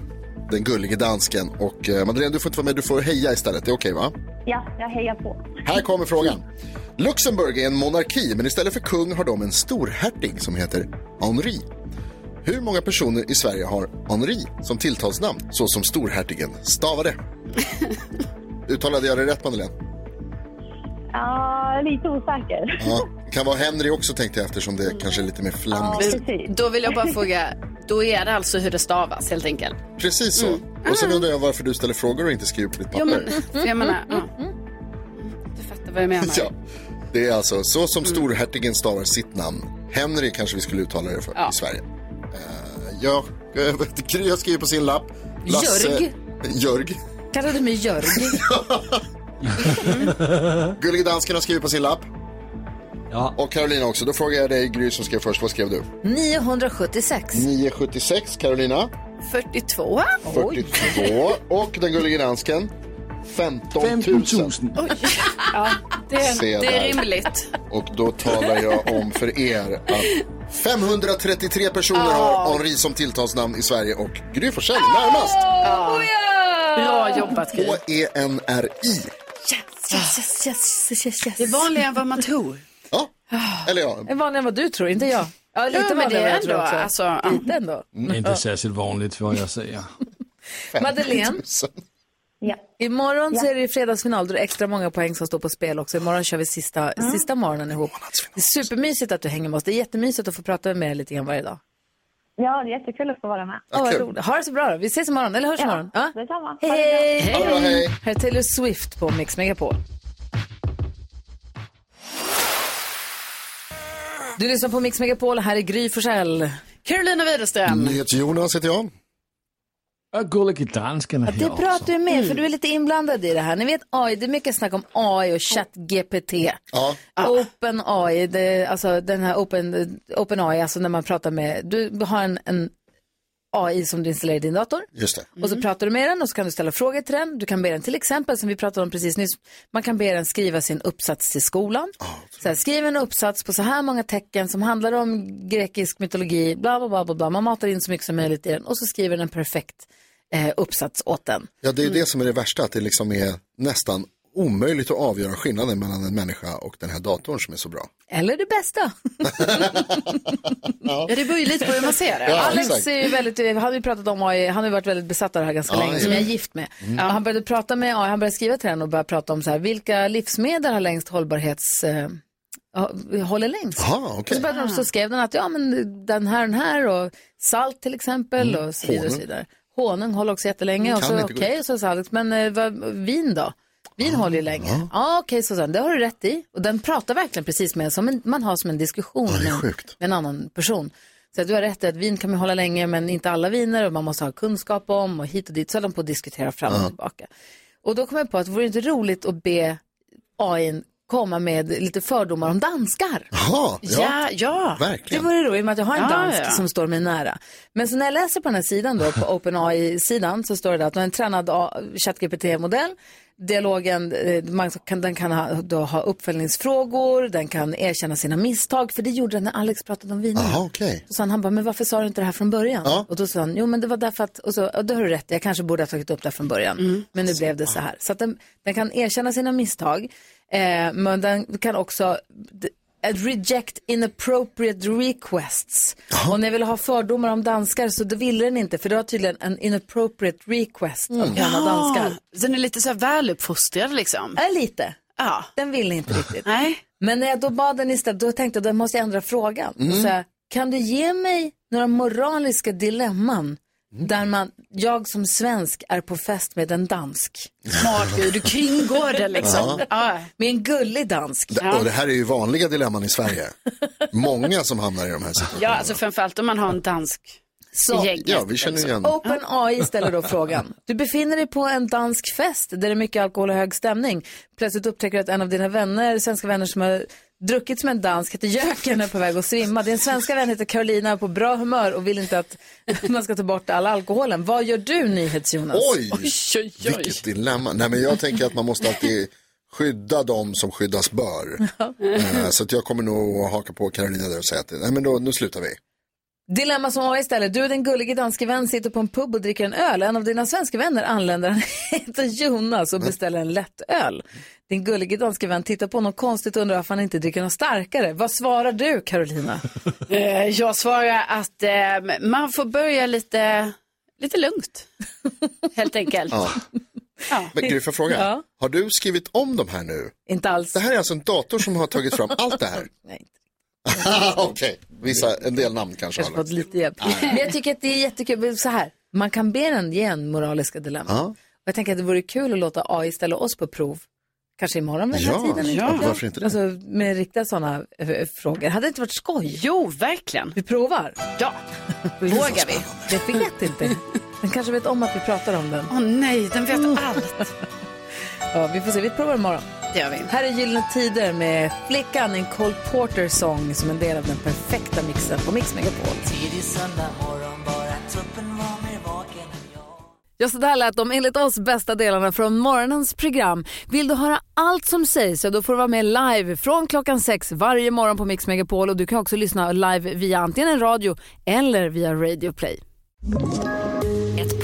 [SPEAKER 5] den gullige dansken. Och eh, Madeleine, du får inte vara med, du får heja istället. Det är okej, va?
[SPEAKER 23] Ja, jag hejar på.
[SPEAKER 5] Här kommer frågan. Luxemburg är en monarki, men istället för kung har de en storhertig som heter Henri. Hur många personer i Sverige har Henri som tilltalsnamn, så som storhertigen stavade? Uttalade jag det rätt, Madeleine?
[SPEAKER 23] Ja, lite osäker.
[SPEAKER 5] Ja, det kan vara Henry också, tänkte jag, eftersom det kanske är lite mer flamskt.
[SPEAKER 7] Då vill jag bara fråga, då är det alltså hur det stavas helt enkelt?
[SPEAKER 5] Precis så. Och sen undrar jag varför du ställer frågor och inte skriver på ditt papper.
[SPEAKER 7] Ja, men, för jag menar, ja. Du fattar vad jag menar.
[SPEAKER 5] Ja,
[SPEAKER 7] Mm.
[SPEAKER 5] det är alltså så som storhertigen stavar sitt namn. Henry kanske vi skulle uttala det för
[SPEAKER 7] Ja.
[SPEAKER 5] i Sverige. Uh, jag, jag vet- Gry har skrivit på sin lapp.
[SPEAKER 6] Jörg.
[SPEAKER 5] Jörg.
[SPEAKER 6] Kallar du mig Jörg?
[SPEAKER 5] Gullige dansken har skrivit på sin lapp. Och Carolina också. Då frågar jag dig Gry som skrev först. Vad skrev du?
[SPEAKER 6] 976.
[SPEAKER 5] 976 Carolina.
[SPEAKER 7] 42.
[SPEAKER 5] 42. Och den gullige dansken. 15 000.
[SPEAKER 7] Ja, det,
[SPEAKER 5] Se
[SPEAKER 7] det är
[SPEAKER 5] där.
[SPEAKER 7] rimligt.
[SPEAKER 5] Och då talar jag om för er att 533 personer
[SPEAKER 7] Ah.
[SPEAKER 5] har Henri som tilltalsnamn i Sverige och Gry Forssell är närmast. E
[SPEAKER 7] Ja. Ah. Bra jobbat, Gry.
[SPEAKER 5] H-E-N-R-I.
[SPEAKER 6] Yes, yes, yes, yes, yes, yes.
[SPEAKER 7] Det är vanligare än vad man tror.
[SPEAKER 5] Ja, eller ja.
[SPEAKER 1] Är vanligare än vad du tror, inte jag. Ja, lite
[SPEAKER 7] Ja, men det
[SPEAKER 1] vanligare
[SPEAKER 7] är
[SPEAKER 1] än vad jag tror
[SPEAKER 7] ändå,
[SPEAKER 1] också.
[SPEAKER 7] alltså, ja.
[SPEAKER 1] Lite ändå.
[SPEAKER 4] Inte särskilt vanligt vad jag säger.
[SPEAKER 1] Madeleine.
[SPEAKER 23] Ja.
[SPEAKER 1] Imorgon så är det ju fredagsfinal, då är det extra många poäng som står på spel också. Imorgon kör vi sista, sista morgonen ihop. Det är supermysigt att du hänger med oss. Det är jättemysigt att få prata med er lite grann varje dag.
[SPEAKER 23] Ja, det är jättekul att få vara med.
[SPEAKER 1] Ja, vad roligt. Ha det så bra då. Vi ses imorgon, eller hörs imorgon. Ja.
[SPEAKER 23] Detsamma.
[SPEAKER 1] Hej, hej!
[SPEAKER 23] Ha det bra, hej.
[SPEAKER 1] Här är Taylor Swift på Mix Megapol. Du lyssnar på Mix Megapol, här är Gry Forssell.
[SPEAKER 7] Carolina Widerström.
[SPEAKER 5] NyhetsJonas heter jag.
[SPEAKER 4] Jag gullige dansken är
[SPEAKER 1] Det
[SPEAKER 4] här
[SPEAKER 1] är bra
[SPEAKER 4] också.
[SPEAKER 1] att du är med, för du är lite inblandad i det här. Ni vet AI, det är mycket snack om AI och ChatGPT.
[SPEAKER 5] Ja.
[SPEAKER 1] Open AI, det, är alltså den här open, open AI, alltså när man pratar med, du har en, en AI som du installerar i din dator.
[SPEAKER 5] Just det.
[SPEAKER 1] Och så pratar du med den och så kan du ställa frågor till den. Du kan be den till exempel, som vi pratade om precis nyss, man kan be den skriva sin uppsats till skolan. så här, skriv en uppsats på så här många tecken som handlar om grekisk mytologi, bla bla bla bla. bla. Man matar in så mycket som möjligt i den och så skriver den en perfekt eh, uppsats åt den.
[SPEAKER 5] Ja, det är
[SPEAKER 7] Mm.
[SPEAKER 5] det som är det värsta, att det liksom är nästan omöjligt att avgöra skillnaden mellan en människa och den här datorn som är så bra.
[SPEAKER 1] Eller det bästa.
[SPEAKER 5] Ja,
[SPEAKER 7] det beror ju lite på hur man ser det.
[SPEAKER 5] Ja,
[SPEAKER 1] Alex
[SPEAKER 5] exakt.
[SPEAKER 1] är ju väldigt, han har ju pratat om AI, han har ju varit väldigt besatt av det här ganska
[SPEAKER 5] Ja,
[SPEAKER 1] länge,
[SPEAKER 5] det är
[SPEAKER 1] som jag är
[SPEAKER 5] det. Mm.
[SPEAKER 1] gift med. Och han började prata med AI, han började skriva till henne och började prata om så här, vilka livsmedel har längst hållbarhets, eh, hå- håller längst?
[SPEAKER 5] Aha, okej.
[SPEAKER 1] Och så, började de, så skrev den att, ja men den här, den här och salt till exempel
[SPEAKER 5] Mm,
[SPEAKER 1] och så vidare. Och så
[SPEAKER 5] honung.
[SPEAKER 1] vidare. Honung håller också jättelänge
[SPEAKER 5] Mm,
[SPEAKER 1] och
[SPEAKER 5] kan
[SPEAKER 1] så
[SPEAKER 5] inte
[SPEAKER 1] okej,
[SPEAKER 5] gå
[SPEAKER 1] och så sa Alex, men eh, vad, vin då? Vin håller ju länge. Ja, okej, så sa han, det har du rätt i. Och den pratar verkligen precis med en, som en, man har som en diskussion med en- med en annan person. Så att du har rätt i att vin kan man hålla länge, men inte alla viner och man måste ha kunskap om och hit och dit. Så höll de på att diskutera fram och tillbaka. Och då kom jag på att det vore det inte roligt att be AI komma med lite fördomar om danskar.
[SPEAKER 5] Jaha,
[SPEAKER 1] Ja, ja. Det vore roligt, i och med att jag har en
[SPEAKER 7] Ja,
[SPEAKER 1] dansk
[SPEAKER 7] ja.
[SPEAKER 1] som står mig nära. Men så när jag läser på den här sidan då, på OpenAI-sidan, så står det att en tränad A- ChatGPT-modell, dialogen, eh, man kan, den kan ha, då ha uppföljningsfrågor, den kan erkänna sina misstag, för det gjorde den när Alex pratade om vinerna.
[SPEAKER 5] Jaha, okej.
[SPEAKER 1] Så sa han, han bara, men varför sa du inte det här från början? Och då sa han, jo men det var därför att, och så, och då har du rätt, jag kanske borde ha tagit upp det här från början.
[SPEAKER 7] Mm.
[SPEAKER 1] Men nu blev det så här. Så att den, den kan erkänna sina misstag, eh, men den kan också d- eh, reject inappropriate requests. Och när jag ville ha fördomar om danskar så då ville den inte, för det var tydligen en inappropriate request av
[SPEAKER 7] Mm.
[SPEAKER 1] gröna
[SPEAKER 7] Ja,
[SPEAKER 1] danskar.
[SPEAKER 7] Den är lite så här väluppfostrad liksom.
[SPEAKER 1] Ja, lite.
[SPEAKER 7] Ja.
[SPEAKER 1] Den ville inte riktigt. Nej. Men när jag då bad den istället, då tänkte jag, då måste jag ändra frågan.
[SPEAKER 7] Mm.
[SPEAKER 1] Och så här, kan du ge mig några moraliska dilemman
[SPEAKER 7] Mm.
[SPEAKER 1] där man, jag som svensk är på fest med en dansk?
[SPEAKER 7] Smart Gry, du kringgår det liksom.
[SPEAKER 5] Ja.
[SPEAKER 1] Med en gullig dansk.
[SPEAKER 5] Det, och det här är ju vanliga dilemman i Sverige. Många som hamnar i de här situationerna.
[SPEAKER 7] Ja, alltså framförallt om man har en dansk
[SPEAKER 1] Så, Open AI ställer då frågan. Du befinner dig på en dansk fest där det är mycket alkohol och hög stämning. Plötsligt upptäcker du att en av dina vänner, svenska vänner som har druckit som en dansk, heter Jöken och är på väg att svimma. Din svenska vän heter Carolina och är på bra humör och vill inte att man ska ta bort all alkoholen. Vad gör du, NyhetsJonas?
[SPEAKER 5] Oj, vilket dilemma. Nej, men jag tänker att man måste alltid skydda de som skyddas bör. Eh, Så att jag kommer nog att haka på Carolina där och säga att nej, men då, nu slutar vi.
[SPEAKER 1] Dilemma som AI ställer. Du och din gullige danske vän sitter på en pub och dricker en öl. En av dina svenska vänner anländer. Han heter Jonas och beställer en lätt öl. Din gullige danske vän tittar på honom konstigt och undrar varför han inte dricker något starkare. Vad svarar du, Carolina?
[SPEAKER 7] Eh, jag svarar att eh, man får börja lite, lite lugnt, helt enkelt.
[SPEAKER 5] Ja.
[SPEAKER 7] Ja.
[SPEAKER 5] Men Gry, får jag fråga?
[SPEAKER 7] Ja.
[SPEAKER 5] Har du skrivit om de här nu?
[SPEAKER 7] Então,
[SPEAKER 1] Inte alls.
[SPEAKER 5] Det här är alltså en dator som har tagit fram allt det här?
[SPEAKER 1] Nej.
[SPEAKER 5] Okej, Vissa, en del namn kanske.
[SPEAKER 1] Kanske fått lite hjälp. Men jag tycker att det är jättekul. Så här, man kan be den ge en moraliska dilemma.
[SPEAKER 5] Ja.
[SPEAKER 1] Och jag tänker att det vore kul att låta AI ställa oss på prov. Kanske imorgon vid den här
[SPEAKER 5] Ja,
[SPEAKER 1] tiden.
[SPEAKER 5] ja.
[SPEAKER 1] vet jag.
[SPEAKER 5] Varför inte det?
[SPEAKER 1] Alltså, med riktiga sådana eh, eh, frågor. Hade det inte varit skoj?
[SPEAKER 7] Jo, verkligen.
[SPEAKER 1] Vi provar.
[SPEAKER 7] Ja. Vågar vi?
[SPEAKER 1] Det vet inte. Den kanske vet om att vi pratar om den. Mm.
[SPEAKER 7] Åh nej, den vet allt.
[SPEAKER 1] ja, vi får se. Vi provar imorgon.
[SPEAKER 7] Det gör vi.
[SPEAKER 1] Här är Gyllene Tider med Flickan, en Cole Porter-sång som en del av den perfekta mixen på Mix Megapol.
[SPEAKER 14] Tidig söndag morgon, bara tuppen var mer vaken.
[SPEAKER 6] Ja, så där lät de enligt oss bästa delarna från morgonens program. Vill du höra allt som sägs så då får du vara med live från klockan sex varje morgon på Mix Megapol och du kan också lyssna live via antingen en radio eller via Radio Play.
[SPEAKER 14] Ett